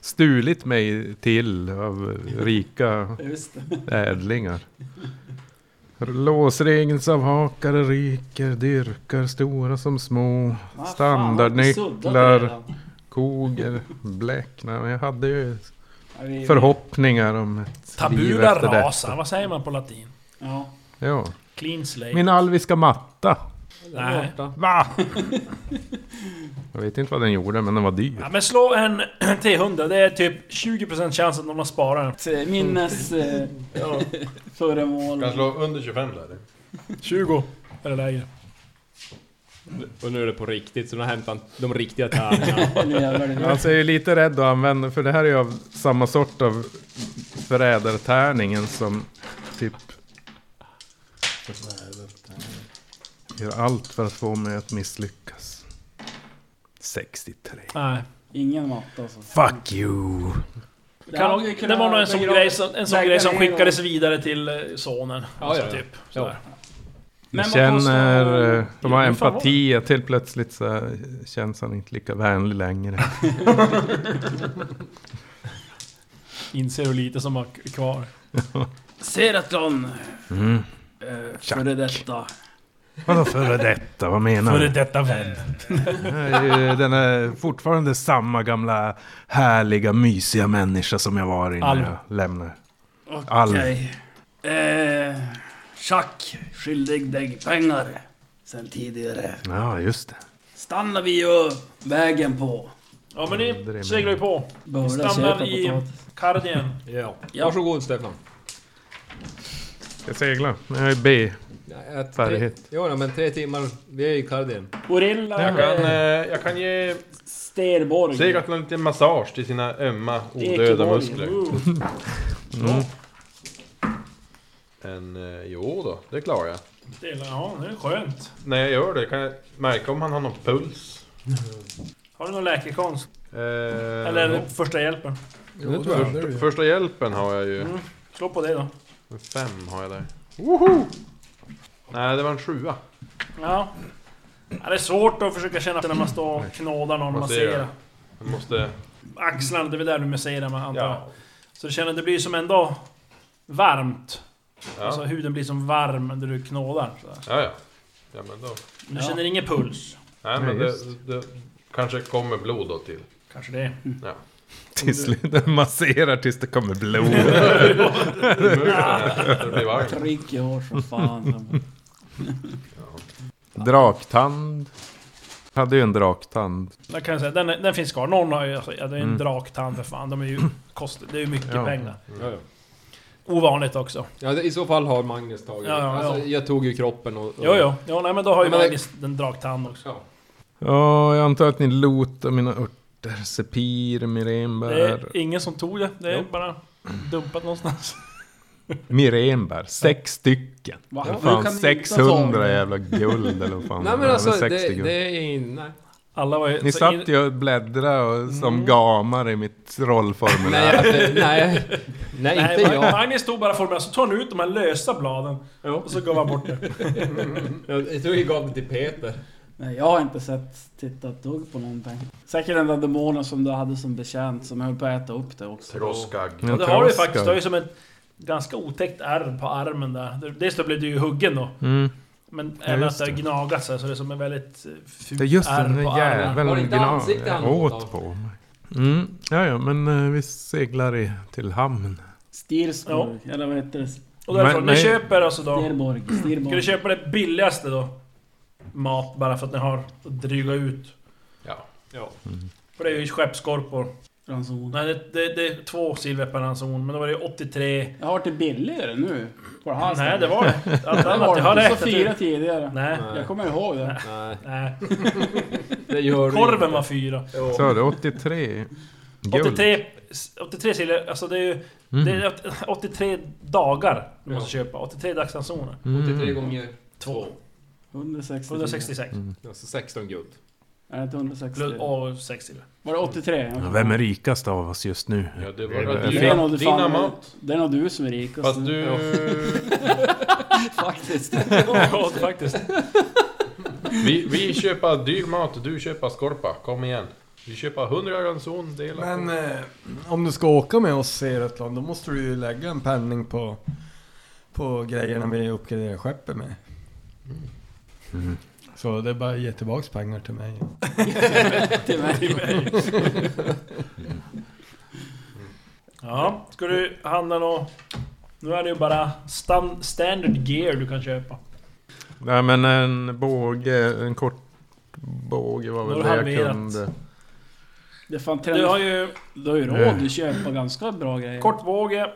G: stulit mig till av rika
D: Just det.
G: ädlingar. Låsregelsavhakare ryker, dyrkar stora som små.
D: Vad Ah, fan,
G: Standardnycklar.
D: har vi suddat redan?
G: Kog eller bläck. Nej, men jag hade ju
D: vi-
G: förhoppningar om ett liv
B: Tabula
G: efter det.
B: rasa, vad säger man på latin?
D: Ja.
G: Ja.
B: Clean slate.
G: Min alviska matta.
B: Nej. *laughs*
G: Va? Jag vet inte vad den gjorde, men den var dyr.
B: Ja, men slå en *clears throat* T100, det är typ 20% chans att någon har sparat den.
D: Att, eh, Minnes... Eh, föremål.
F: Kan slå under 25 där.
B: 20 eller lägre.
E: Och nu är det på riktigt, så nu har jag hämtat de riktiga tärningarna.
D: Nu jävlar det blir.
G: Alltså jag är lite rädd att använda, för det här är ju av samma sort av förrädartärningen som typ... Gör allt för att få mig att misslyckas. 63.
B: Nej.
D: Ingen matta alltså.
G: Fuck you!
B: Det, kan,
D: hade vi
B: det
D: kunnat
B: var nog en sån
D: begra-
B: grej som, en sån
D: lägga
B: grej som
D: ner
B: skickades vidare till eh, sonen.
E: Ja,
B: alltså,
E: ja, ja.
B: Typ. sådär.
D: Men
G: Jag
D: vad kostar-
G: känner, eh, de har
B: hur fan var
G: empati, att helt plötsligt så här känns han inte lika vänlig längre.
B: Inser hur lite som var k- kvar.
D: Seratlon.
G: Mm.
D: Eh, före detta.
G: *laughs* Vadå före detta, vad menar
B: Före
G: du?
B: detta vän.
G: Jag är ju Den är fortfarande samma gamla härliga mysiga människa som jag var innan
B: Alv.
G: jag lämnade.
D: Okej.
G: Alv.
D: Eh, Chuck, skyldig dig pengar. Sen tidigare.
G: Ja, just det.
D: Stannar vi ju vägen på.
B: Ja men
G: det är
B: ni seglar ju på.
D: Börda
B: Stannar
D: köpa
B: i
D: potatis.
B: Kardien.
E: ja.
D: Ja.
E: Varsågod Stefan.
G: Ska jag segla? Jag är B.
E: Ja, ett-
G: Färdighet.
E: Jo, ja, men tre timmar. Vi är i Kardien.
D: Gorilla.
F: Jag kan, eh, jag kan ge
D: Sterborg.
F: Segatlan lite massage till sina ömma odöda
D: Ekeborg.
F: muskler.
D: Ooh.
E: Mm.
F: En, eh, jo då, det klarar jag.
B: Stilla, Ja, det är skönt.
F: När jag gör det kan jag märka om han har någon puls.
B: Har du någon läkekonst?
F: Eh,
B: Eller första hjälpen?
F: det tror jag. Första, första hjälpen har jag ju.
B: Mm. Slå på det då.
F: En fem har jag där. Nej, det var en sjua.
B: Ja. ja. Det är svårt att försöka känna när man står och knådar någon och masserar.
F: Massera. Jag måste...
B: Axlarna, det är väl där du masserar med antar jag.
F: Ja.
B: Så du känner, det blir som ändå varmt. Alltså
F: Ja,
B: huden blir som varm när du knådar. Så. här.
F: ja. ja. ja men då.
B: Men du
D: Ja.
B: känner ingen puls.
F: Nej,
G: Nej,
F: men det,
G: just.
F: det kanske kommer blod då till.
B: Kanske det.
G: Till slut den masserar tills det kommer blod.
F: det blir varmt.
D: Prick i hår
B: *laughs*
D: som fan.
G: Draktand. Jag hade ju en draktand.
B: Jag kan säga, den, är- den finns kvar. Någon har ju... Alltså, ja, det är en
G: Mm.
B: draktand för fan. De
G: *clears throat*
B: är ju kost, det är ju mycket
G: Ja.
B: pengar.
E: Ja, ja.
B: Ovanligt också.
E: Ja, det- I så fall har Magnus tagit
B: Ja, ja,
E: alltså,
B: ja.
E: Jag tog ju kroppen och... och
B: Jo, jo. jo nej, men då har ju
E: Men det-
B: Magnus en draktand också.
E: Ja.
G: Ja, jag antar att ni lotar mina örter, sepir,
B: Det
G: mirenbär.
B: är ingen som tog det. Det är
E: Jo.
B: bara dumpat någonstans.
G: Mirenbär, sex stycken.
D: Va?
G: Vad
D: Hur
G: fan,
D: kan ni
G: 600
D: inte ta
G: jävla guld eller vad fan.
E: Nej
G: det
E: men
G: var,
E: alltså,
G: väl
E: det,
G: 60 guld.
E: det är in... Nej.
B: Alla var ju...
G: Ni
B: så
G: satt
B: in- Mm.
G: ju och bläddrade och, som gamar i mitt
E: Eh, Nej,
G: rollformulär.
E: jag, nej, nej,
B: Nej,
E: inte
B: Mag-
E: jag.
B: Magnus tog bara formen, så tog han ut de här lösa bladen. Och så gav han bort
G: *laughs*
B: det.
E: Jag jag tror jag gav det till Peter.
D: Nej, jag har inte sett, tittat dugg på någonting. Säkert den där demonen som du hade som betjänt som höll på att äta upp det också.
F: Troskagg.
G: Jag
B: Och det har du ju
G: traskar.
B: faktiskt. Du har ju som ett ganska otäckt ärr på armen där. Dels då blev du ju huggen då.
G: Mm.
B: Men
G: Ja,
B: även att
G: just
B: det har
G: det.
B: gnagat sig, så det är som en väldigt eh, fult
G: Det är just
B: ärr
G: den
B: på
G: där
B: armen.
E: Var det
G: jäveln
E: inte ansikte
G: gna-
E: han åt av?
G: åt på mig. Mm. Ja, ja, men eh, vi seglar i, till hamn.
D: Stirsborg, eller vad heter det?
B: Och därifrån,
G: Men-
B: ni
G: nej.
B: köper alltså då...
D: Stirborg,
B: Ska
D: Stirborg.
B: du köpa det billigaste då? Mat, bara för att ni har att dryga ut.
F: Ja.
B: För det är ju skeppskorpor.
D: Ranson.
B: Nej, det, det, det är två silver per ranson, men då var det 83...
D: Jag har till billigare nu. På det här
B: Nej,
D: stället.
B: det var det. Allt
D: Det
B: annat, jag har
D: var inte
B: räknat
D: så fyra
B: ut.
D: tidigare.
B: Nej,
D: Jag kommer ihåg det.
E: Nej,
B: nej.
E: det gör du
B: Korven
E: inte.
B: var fyra.
G: Så är det 83 guld.
B: 83, 83 silver, alltså det är ju...
G: Mm.
B: Det är 83 dagar du måste köpa. 83 dagsransoner.
E: 83 gånger...
B: Två.
D: 160.
B: 166.
F: Mm.
E: Alltså 16 guld.
D: Nej, inte 160.
B: Plus, och 6 silver.
D: Var det 83?
G: Ja, Vem är rikast av oss just nu?
F: Ja, det
G: Det
F: var
G: är
D: Eh, Det är
F: dina,
D: nog du fan-
F: dina mat.
D: Det är nog du som är rikast
F: Fast
D: nu.
F: du...
D: Faktiskt.
B: *laughs* Ja, faktiskt.
F: Vi, vi köper dyr mat, du köper skorpa. Kom igen. Vi köper 100 ranson, delar
C: Men
F: på.
C: eh, om du ska åka med oss Seratlan, då måste du ju lägga en penning på, på grejerna vi uppgraderar skeppet med.
B: Mm.
C: Så det är bara att ge tillbaks pengar till mig.
D: Till mig.
B: Ja, ska du handla nå... Nu är det ju bara stan- standard gear du kan köpa.
G: Nej men en båge, en kort båge var
B: Då har
G: väl det jag
B: halverat.
G: kunde.
D: Det är fan
B: Du har
D: 300...
B: ju
D: Du har ju råd att köpa ganska bra grejer.
B: kortvåge,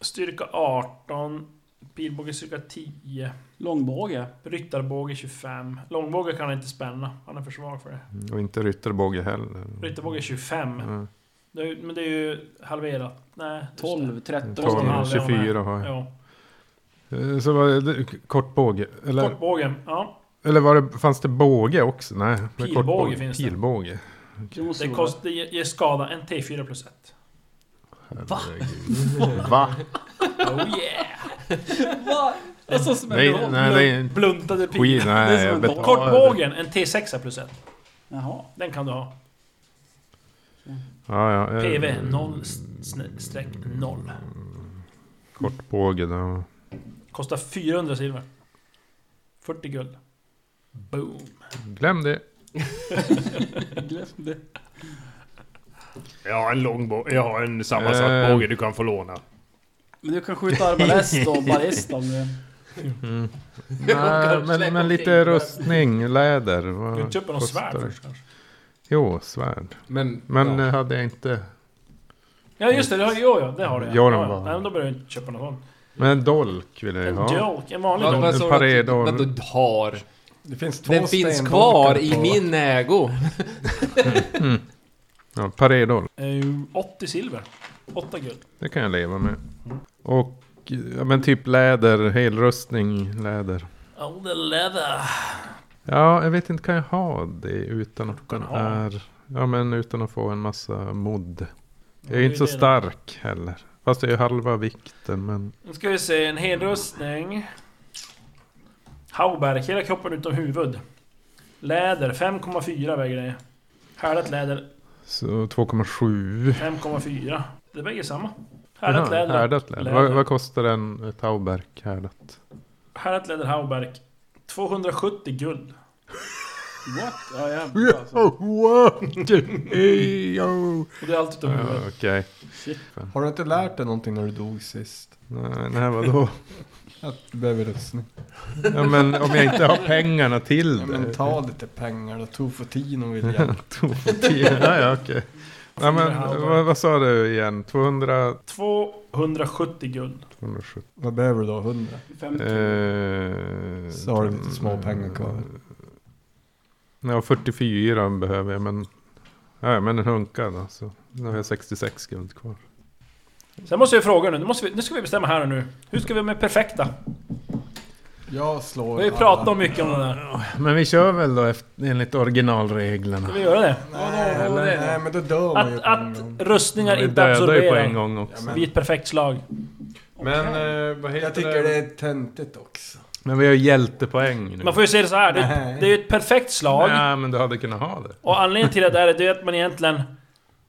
B: styrka 18, pilbåge styrka 10,
D: Långbåge.
B: ryttarbåge 25. Långbåge kan han inte spänna, han är för svag för det.
G: Och inte rytterbåge heller.
B: Ryttarbåge 25.
G: Mm.
B: Det är, ju- men det är ju halverat. Nej, just det.
D: 12, 13.
G: 12,
B: halv, ja,
G: 24 har jag.
B: Ja.
G: Eh, Så var det kort båge? Eller,
B: Kortbågen, ja.
G: eller var det, fanns det båge också? Nej. det är kort
B: Pilbåge
G: båge.
B: finns det.
G: Pilbåge.
D: Det måste
B: Det,
D: vara-
B: kost, det ger skada, en T4 plus 1.
G: Va? Va?
B: Oh yeah! *laughs*
D: Va? Alltså som
G: Nej,
D: en
G: nej, det är inte
B: Bluntade pil.
G: skit.
D: Det är
G: Nej,
D: som
G: jag
D: en
G: betalar.
B: Kortbågen, en T6 plus 1.
D: Jaha.
B: Den kan du ha.
G: Ja, ja, eh,
B: PV 0 streck 0.
G: Kortbåge då.
B: Kostar 400 silver. 40 guld. Boom.
G: Glöm
B: *laughs*
G: det.
D: Glömde.
H: *laughs* Jag har en lång båge. Jag har en sammansatt
G: Eh.
H: båge du kan få låna.
D: Men du kan skjuta arbalest *laughs* och ballista om du...
G: Nej, men,
E: släpp
G: men
E: omkring.
G: lite rustning, läder.
B: Du
G: vad
B: kan köpa något
G: Mm. kostar
B: svärd
G: det?
B: först kanske?
G: Jo, svärd.
E: Men,
G: Men
E: ja.
G: eh, hade jag inte...
B: Ja just det, det har, jo, ja, det har du ja.
G: Ja, den
B: Ja, ja.
G: var-
B: Nej, men då behöver du inte köpa något sånt.
G: Men en dolk ville jag
B: En
G: ha.
B: dolk, en vanlig
E: Vad-
B: dolk.
E: vad sa du att-
G: Paredo.
E: Vänta, du har...
C: Det finns två
E: Den finns
C: stendolkar
E: kvar i
C: på-
E: min ägo.
G: Ja, paredol.
B: Eh, 80 silver. 8 guld.
G: Det kan jag leva med.
B: Mm.
G: Och ja, men typ läder, helrustning, läder.
B: All Oh, the leather.
G: Ja, jag vet inte, kan jag ha det utan att
B: kan
G: den
B: ha.
G: är... Ja, men utan att få en massa mod. Jag är
B: det
G: ju
B: är
G: inte så
B: det då.
G: stark heller. Fast det är ju halva vikten, men...
B: Nu ska vi se, en helrustning. Hauberk, hela kroppen utom huvud. Läder, 5,4 väger det. Härdat läder,
G: Så 2,7.
B: 5,4. Det väger samma.
G: Jaha,
B: Härdat läder.
G: Härdat läder.
B: Läder.
G: Vad, vad kostar en ett Tauberk härdat?
B: Härdat läder Hauberk. 270 guld.
D: What? Ja jävlar alltså.
B: Och det är allt utom
G: Ja,
B: huvudet.
G: Okej.
C: Har du inte lärt dig någonting när du dog sist?
G: Nej, nej, vadå?
C: Att du behöver rustning.
G: Ja, men om jag inte har pengarna till
C: Ja,
G: det.
C: men ta lite pengar då. Tofotino vill hjälpa.
G: *laughs* ja, ja, okej. Ja, men vad, vad sa du igen? 200?
B: 270 guld.
G: 270?
C: *laughs* Vad behöver du då? 100?
D: Fem-
G: Eh,
C: Så har du lite
B: Mm.
C: småpengar kvar.
G: Ja, 44 behöver jag, men... Ja, men en hunka då. Så. Nu har jag 66 guld kvar.
B: Sen måste jag fråga nu, nu, måste vi, nu ska vi bestämma här och nu. Hur ska vi med perfekta?
C: Jag slår
B: Vi har ju pratat om mycket om det där.
G: Men vi kör väl då efter, enligt originalreglerna.
B: Ska vi göra det?
C: Nej, men, nej, men då dör man ju
B: Att,
C: på en
B: att
C: gång.
B: rustningar
G: Vi
B: inte
G: dödar ju på en
B: absorberar.
G: gång också.
C: Ja, men-
B: Vid ett perfekt slag.
F: Men eh, vad heter
C: Jag tycker det är töntigt också.
G: Men vi har hjältepoäng nu.
B: Man får ju se det så här. Det,
C: Nej.
B: det är ju ett perfekt slag.
G: Nej, men du hade kunnat ha det.
B: Och anledningen till det där är det är att man egentligen...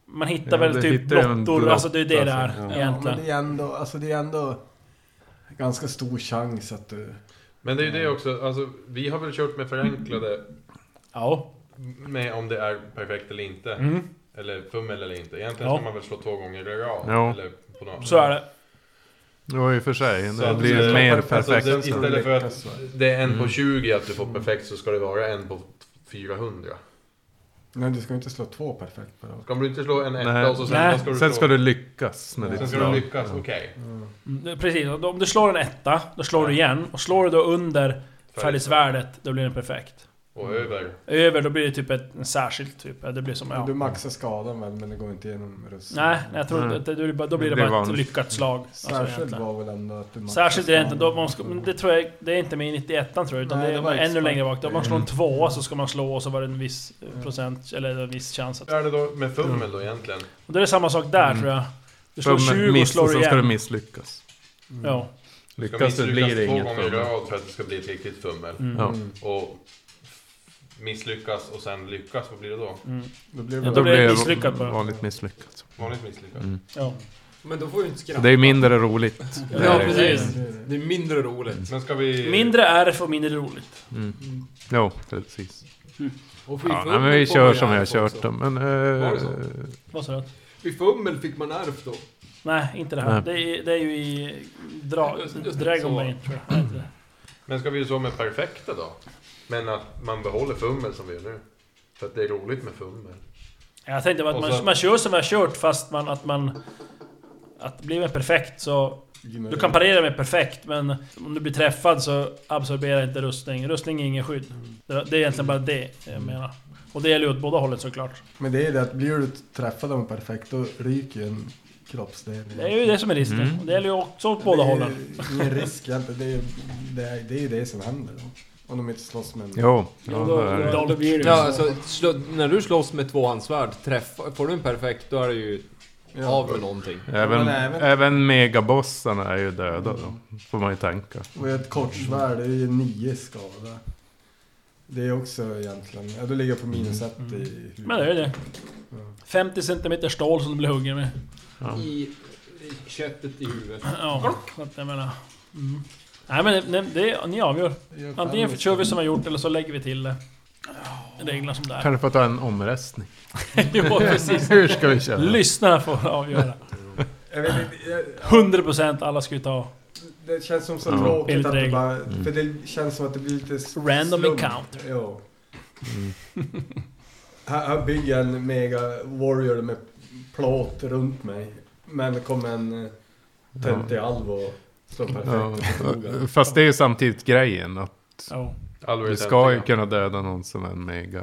B: Man hittar
G: Ja,
B: väl
G: det
B: typ
G: hittar ju en
B: blottor,
G: blott,
B: alltså det är det det är
G: alltså. Ja.
C: Ja, men
B: egentligen.
C: det är ändå, alltså det är ändå ganska stor chans att du...
F: Men det är ju det också, alltså vi har väl kört med förenklade
B: Ja.
F: med om det är perfekt eller inte.
B: Mm.
F: Eller fummel eller inte. Egentligen
B: Ja.
F: ska man väl slå två gånger i rad.
G: Ja.
F: Eller på något.
B: Så är det.
G: Jo, i och för sig. Det
F: Så att,
G: blir
F: eh,
G: mer
F: alltså,
G: perfekt. Mm.
F: det- istället för att
C: Så.
F: det är en på 20 att du får perfekt så ska det vara en på 400.
C: Nej, du ska ju inte slå två perfekt på rad.
F: Ska du inte slå en
G: Nej.
F: etta och så sen
B: Nej,
F: vad ska du
G: Sen
F: slå?
G: ska du lyckas med
F: Sen
G: ditt
F: ska du
G: slag.
F: lyckas, okej.
B: Mm, det- Precis, Och om du slår en etta, då slår du igen. Och slår du då under färdighetsvärdet, då blir den perfekt.
F: Och över.
B: Över, då blir det typ ett, en särskilt typ. Ja, Det blir som... Ja.
C: Du maxar skadan väl, men det går inte igenom rustningen.
B: Nej, nej, jag tror inte
G: Nej.
B: att det, då blir- då blir det,
G: Det är
B: bara ett
G: vanligt.
B: lyckat slag.
G: mm.
B: Alltså,
C: Särskilt
B: egentligen.
C: var väl ändå att du maxar
B: Särskilt är det inte, då
C: skadan.
B: man ska, men det tror jag, det är inte med i 91 tror jag, utan
C: Nej,
B: det är
C: det var
B: ännu
C: expert.
B: längre bak. Om man
G: Mm.
B: slår en tvåa så ska man slå och så var det en viss eh,
C: Mm.
B: procent, eller en viss chans att...
F: Hur är det då med fummel då egentligen?
B: Och då är det samma sak där tror jag. Du slår
G: Fummel,
B: 20 och
G: Mm. miss,
B: slår
G: och
B: du
G: sen ska du
B: igen.
G: misslyckas.
B: Ja.
F: Du ska
G: Lyckas
F: misslyckas
G: du blir det
F: två
G: inget
F: gånger i
G: fummel. Mm.
F: rad för att det ska bli ett riktigt fummel.
G: Ja.
C: Mm,
F: Och misslyckas och sen lyckas, vad blir det då?
C: Då blir det
B: Ja,
C: väl-
B: då blir
G: Då blir
B: det
G: det
B: misslyckat bara.
G: vanligt misslyckat.
F: Vanligt misslyckas.
G: Mm.
B: ja.
E: Men då får du inte
G: Så
E: skratta.
G: det är mindre roligt.
E: Ja,
B: Det är-
E: precis. Det är mindre roligt.
F: Men ska vi...
B: Mindre är för mindre roligt.
G: Mm. Jo, precis.
E: Och
G: Ja,
E: fummel
G: nej, men vi
E: får
G: kör
E: man ju
G: som vi har
E: ärf
G: kört eh,
E: också.
G: dem. Men,
F: Var det
G: eh,
F: så?
B: Vad sa du?
E: Vid fummel fick man ärf då.
B: Nej, inte det här.
G: Nej.
B: Det är, det är ju i Dra
E: Just- just det, så.
B: Dragonbane tror jag. Nej, inte det.
F: Men ska vi ju så med perfekta då? Men att man behåller fummel som vi gör nu. För att det är roligt med fummel.
B: Jag tänkte bara
F: Och
B: att man,
F: sen-
B: man kör som jag har kört fast man... Att man... Att blir man perfekt så... Du kan parera med perfekt men om du blir träffad så absorberar inte rustning. Rustning är ingen skydd. Det det är egentligen bara det jag menar. Och det gäller ju åt båda hållen såklart.
C: Men det är det att blir du träffad av en perfekt då ryker ju en kroppsdel.
B: Det är ju det som är risken.
G: Mm.
B: Och Det gäller ju också åt båda
C: Det är
B: hållen.
C: Ingen risk egentligen. Det är, det, är, det är ju det som händer. då. Om de inte slåss med en...
G: Jo, ja,
D: Ja,
G: det är det.
D: då, då blir det
E: Ja, alltså, slå, när du slåss med tvåhandsvärd, träffa, får du en perfekt, då är det ju
C: Ja.
E: av med någonting.
G: Även,
C: Men även-
G: även megabossarna är ju döda då, får man ju tänka.
C: Och ett kortsvärd, det är ju nio skada. Det är också egentligen... Ja, du ligger på minus ett i huvudet.
B: Men det är ju det. 50 cm stål som du blir huggen med.
G: Ja.
E: I, i köttet i huvudet.
B: Ja, så att jag menar... Mm. Nej men det, det, ni avgör. Antingen kör vi som vi har gjort eller så lägger vi till det. Reglerna som det
G: *laughs*
B: är.
G: Kanske får ta en omröstning.
B: Jo, precis.
G: *laughs* Hur ska vi köra?
B: Lyssnarna får avgöra.
C: Jag vet inte, jag,
B: 100% alla ska ju ta
C: det känns som så
G: Ja. Mm.
C: tråkigt
B: Enligt
C: att det
B: regler.
C: bara... För det känns som att det blir lite... s-
B: Random
C: slump.
B: encounter.
C: Ja.
G: Mm.
C: *laughs* här, här bygger jag en mega warrior med plåt runt mig. Men det kommer en eh, töntig alv och slår
G: Ja.
C: perfekt. Ja.
G: Fast det är ju samtidigt grejen att
B: Ja.
F: Alvar är
G: du ska ju
F: töntiga.
G: kunna döda någon som är en mega...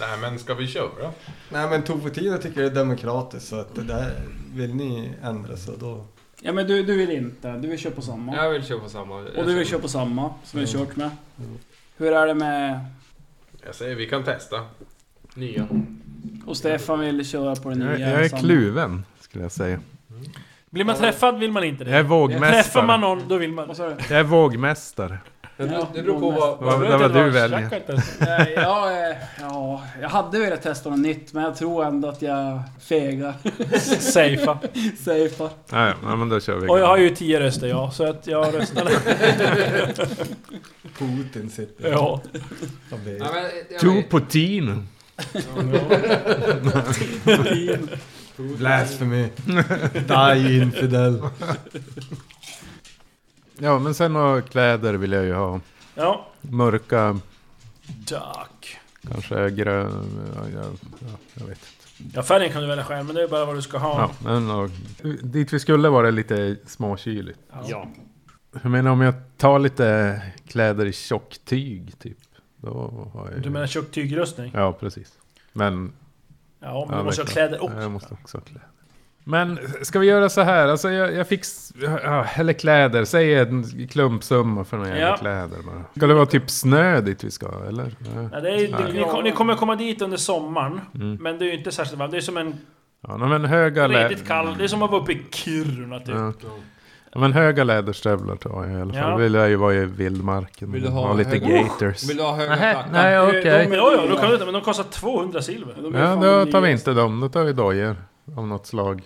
F: Nej men ska vi köra?
C: Nej men Tofotina tycker det är demokratiskt så att det där vill ni ändra så då...
D: Ja men du, du vill inte, du vill köra på samma.
E: Jag vill köpa samma.
D: Och du vill köra på samma som vi har
C: Mm.
D: kört med.
C: Mm.
D: Hur är det med...
F: Jag säger vi kan testa.
E: Nya.
D: Och Stefan vill köra på den
G: Jag,
D: nya. liksom.
G: jag är
D: samma.
G: kluven, skulle jag säga.
B: Blir man träffad vill man inte
G: Jag är
B: det. Träffar man
G: vågmästare.
B: någon, då vill man
D: Vad sa du?
G: Jag är vågmästare.
E: Det, det beror på vad...
G: Vad-
B: Jag
G: vad
B: vet inte
G: du
B: vad-
G: väljer.
B: Jack har inte ens-
D: Nej, jag, eh, ja, jag hade velat testa något nytt men jag tror ändå att jag fegar. *laughs*
B: Safea.
D: Safear.
G: Ja, ja, ja, men då kör vi.
B: Och jag har ju 10 röster jag, så att jag
D: *laughs*
B: röstar...
C: Putin sitter
B: ja.
C: och ber.
E: Nej, men, jag
G: Two
E: vet-
G: på teen.
C: *laughs* Blasphemy. Die infidel.
G: Ja, men sen några kläder vill jag ju ha.
B: Ja.
G: Mörka,
B: Duck.
G: kanske grön... Ja, ja, ja, jag vet.
B: Ja, färgen kan du välja själv, men det är bara vad du ska ha.
G: Ja, men och, dit vi skulle var det lite småkyligt.
H: Ja.
G: Jag menar om jag tar lite kläder i tjocktyg typ. Då har jag
B: Du menar tjock tygrustning?
G: Ja, precis. Men...
B: Ja, men
G: ja,
B: du måste
G: det är
B: ha kläder
G: klart. Ja, Jag
B: också.
G: måste också ha kläder. Men ska vi göra så här? Alltså jag, jag fick... s- Ja, eller kläder. Säg en klumpsumma för några jävla
B: Ja.
G: kläder bara. Ska det vara typ snö dit vi ska, eller? Ja.
B: Ja, det är,
G: Nej.
B: ni, kom- ni kommer komma dit under sommaren,
G: Mm.
B: men det är ju inte särskilt varmt. Det är som en
G: Ja, nej, men höga lä...
B: riktigt kall... Det är som att vara uppe i Kiruna typ.
G: Ja. Ja, men höga läderstövlar tar jag i alla fall.
B: Ja.
G: Vill jag ju vara i vildmarken.
E: Vill du ha
G: lite
E: höga-
G: gators.
E: Vill du ha höga
G: Nej,
E: klackar?
G: nej okej.
B: Men ja, ja, då kan du inte, men de kostar 200 silver.
D: De är
G: Ja,
D: fan
G: då tar vi
D: nya.
G: inte dem. Då tar vi dojor av något slag.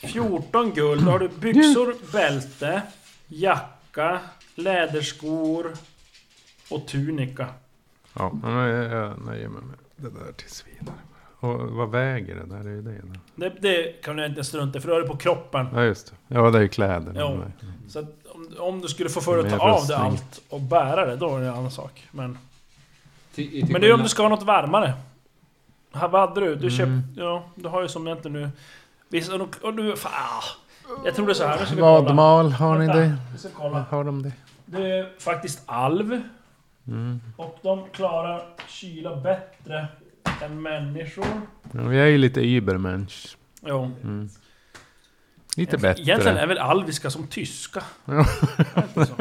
B: 14 guld, då har du byxor, bälte, jacka, läderskor och tunika.
G: Ja, men jag, jag nöjer mig med det där tills vidare. Och vad väger det där? Det är ju det. då.
B: Det, det kan du inte strunta i, för du har det på kroppen.
G: Ja, just det. Ja, det är ju kläderna.
B: Ja.
G: med.
B: Så att om, om du skulle få för dig
G: Med
B: att ta av
G: rustning.
B: dig allt och bära det, då är det en annan sak. Men,
E: Till- till
B: men det är om
E: skillnad-
B: du ska ha något varmare. Här, vad hade du? Du
G: Mm.
B: köpt... Ja, du har ju som jag inte nu... Visst, och du... Och du fan, ah. jag tror det är så här, nu ska vi kolla.
G: Vadmal, har ni
B: Vänta.
G: det?
B: Vi ska kolla.
G: Har de det?
B: Det är faktiskt alv.
G: Mm.
B: Och de klarar kyla bättre än människor.
G: Ja, vi är ju lite übermensch.
B: Jo.
G: Mm. Lite bättre.
B: Egentligen är väl alviska som tyska?
G: Ja.
B: Är det inte så?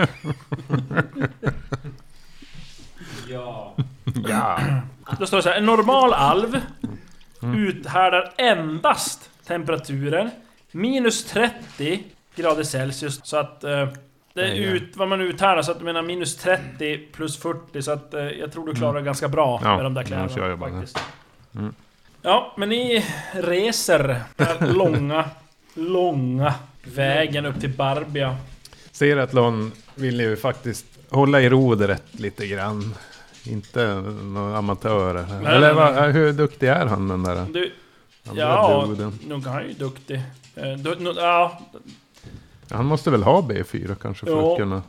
E: Ja.
G: Ja.
B: Då står det så här, en normal alv
G: Mm.
B: uthärdar endast temperaturen minus 30 grader Celsius. Så att eh, det är
G: Ja, ja.
B: ut, vad man uthärdar, så att du menar minus 30 plus 40. Så att eh, jag tror du klarar det ganska bra
G: Mm. Ja,
B: med de där kläderna
G: jag kör ju bara det.
B: faktiskt.
G: Mm.
B: Ja, men ni reser den
G: *laughs*
B: här långa, långa vägen upp till Barbia.
G: Ser att Lon vill ju faktiskt hålla i rodret lite grann. Inte några amatörer. här.
B: Nej,
G: Eller
B: nej, nej.
G: vad- hur duktig är han den där?
B: Du,
G: Han
B: ja,
G: duden.
B: nog han är ju duktig. Eh, då- nå- Ja,
G: Han måste väl ha B4 kanske för
B: Ja.
G: att kunna...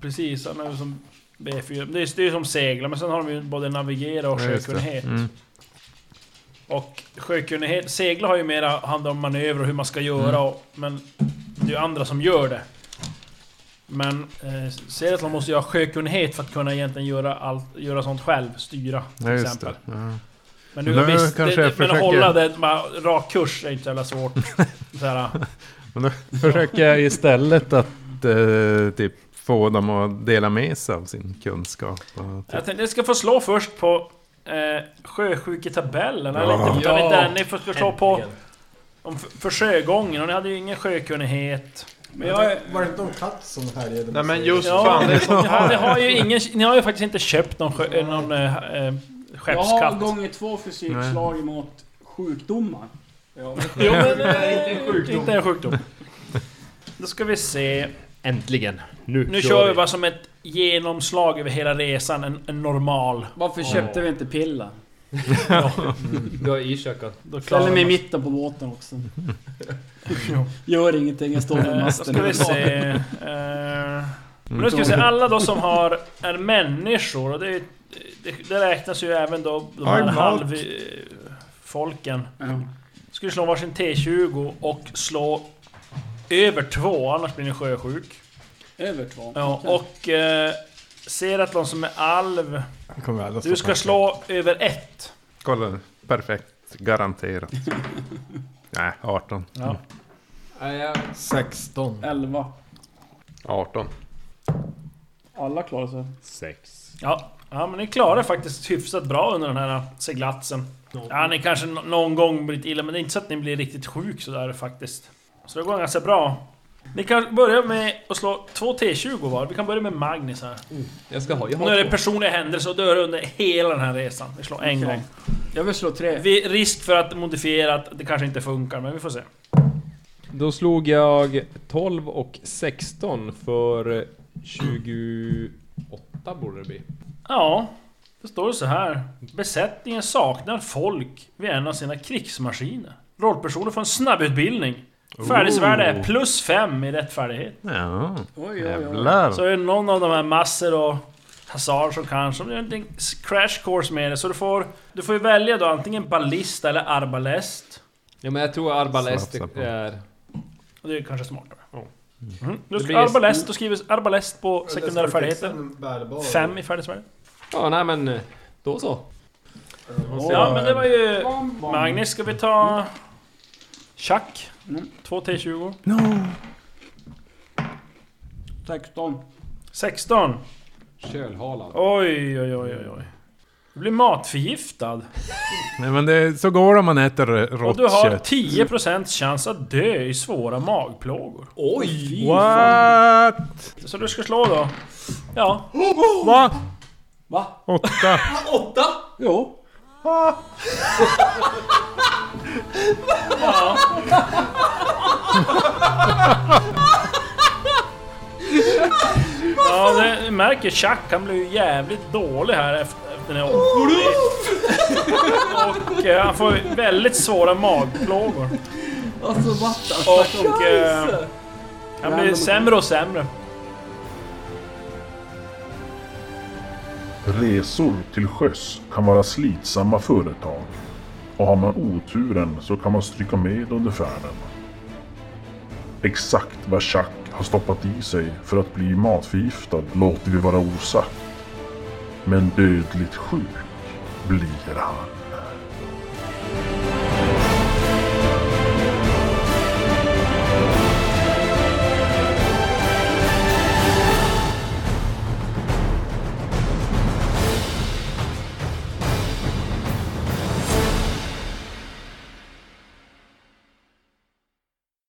B: precis. Han är ju som B4. Det är det är ju som segla, men sen har de ju både navigera och
G: Ja, just det.
B: sjökunnighet.
G: Mm.
B: Och sjökunnighet, segla har ju mera hand om manöver och hur man ska göra,
G: Mm.
B: och, men det är ju andra som gör det. Men eh, Seratlon måste ju ha sjökunnighet för att kunna egentligen göra, allt, göra sånt själv, styra till
G: Ja, just
B: exempel.
G: det. Ja.
B: Men nu
G: Men nu
B: visst,
G: kanske
B: det,
G: jag
B: det, men att
G: försöker-
B: hålla det, bara, rak kurs är inte så jävla
G: *laughs*
B: svårt. så här,
G: Försöker jag istället att eh, typ få dem att dela med sig av sin kunskap. Och typ.
B: Jag tänkte jag ska få slå först på eh, sjösjuketabellen. Eller
G: Ja.
B: inte, utan
E: Ja.
B: inte än. Ni får ska slå på om f- för sjögången och ni hade ju ingen sjökunnighet.
C: Men jag är... Var det inte någon katt som härjade?
F: Nej men just
B: Ja.
F: fan, det är sånt
B: Ni har, ni,
F: här.
B: har ju ingen, ni har ju faktiskt inte köpt någon, sjö, eh, någon eh, eh,
D: Jag
B: *laughs*
D: har
B: skeppskatt.
D: gånger två fysikslag emot sjukdomar.
B: Jo, men, eh, Inte en sjukdom. Då ska vi se.
H: Äntligen. Nu,
B: Nu kör vi bara som ett genomslag över hela resan. En, en normal.
D: Varför
H: Ja.
D: köpte vi inte pilla?
H: Du har irsökat.
B: Då klarar
D: Ställer mig i
B: man-
D: mitten på båten
G: *laughs*
D: också. Gör ingenting, jag står vid
B: Eh, Då ska
D: masten.
B: vi se... eh, men nu ska vi se, alla då som har, är människor, och det, det, det räknas ju även då de här
F: Iron Heart.
B: halv... eh, Folken.
D: Ja.
B: Ska vi slå varsin T20 och slå över två, annars blir ni sjösjuk.
D: Över två.
B: Ja,
D: Okej.
B: och eh, ser att någon som är alv,
C: Kommer alla
B: du ska slå över ett.
G: Kolla nu. Perfekt.
B: *laughs*
G: Garanterat. Nej, 18.
B: Ja.
E: Nej, jag-
C: 16.
D: Elva.
F: 18.
D: Alla klarar sig.
H: Sex.
B: Ja, ja men ni klarar faktiskt hyfsat bra under den här seglatsen. Ja, ni kanske nå- någon gång blivit illa, men det är inte så att ni blir riktigt sjuk sådär faktiskt. Så det går ganska bra. Ni kan börja med att slå två T20 var. Vi kan börja med Magnus här.
E: Jag ska ha, jag
B: Och nu är
E: har
B: det personliga händelser och dör under hela den här resan. Vi slår en
D: Okej.
B: gång.
D: Jag vill slå tre.
B: Vi, risk för att modifiera att det kanske inte funkar, men vi får se.
E: Då slog jag 12 och 16 för 28 borde det bli.
B: Ja, det står det så här. Besättningen saknar folk vid en av sina krigsmaskiner. Rollpersoner får en snabbutbildning. Färdighetsvärde är plus 5 i rättfärdighet.
G: Ja,
D: Oj, oj, oj.
G: jävlar.
B: Så är det någon av de här massor och Hazard som kanske, om det är någonting crash course med det. Så du får, du får ju välja då antingen ballista eller arbalest.
E: Ja men jag tror arbalest
G: Slafsa på.
E: är...
B: Och det är kanske smartare.
E: Ja.
B: Mm. Du
E: Det
B: ska
E: blir-
B: arbalest, då skriver arbalest på sekundära färdigheter.
C: Bärbar.
B: 5 i färdighetsvärde.
E: Ja nej men eh, då så.
B: Ja men det var ju...
D: Bam, bam.
B: Magnus, ska vi ta... Chuck?
D: Mm.
B: 2 T20.
D: 16.
B: 16.
E: Kölhalan.
B: Oj, oj, oj, oj, oj. Du blir matförgiftad.
G: Nej, men det, så går det om man äter
B: Och
G: rått
B: du har
G: kött.
B: 10% chans att dö i svåra magplågor.
E: Oj!
G: What?
B: Så du ska slå då? Ja.
G: Va?
D: Va?
G: Åtta?
D: Jo.
B: Ja, det, du märker Chuck, han blev ju jävligt dålig här efter, efter den här omgången. Och eh, han får ju väldigt svåra magplågor.
D: Alltså what the fuck?
B: Och... Eh, han blir sämre och sämre.
A: Resor till sjöss kan vara slitsamma företag och har man oturen så kan man stryka med under färden. Exakt vad Chuck har stoppat i sig för att bli matförgiftad låter vi vara osagt. Men dödligt sjuk blir han.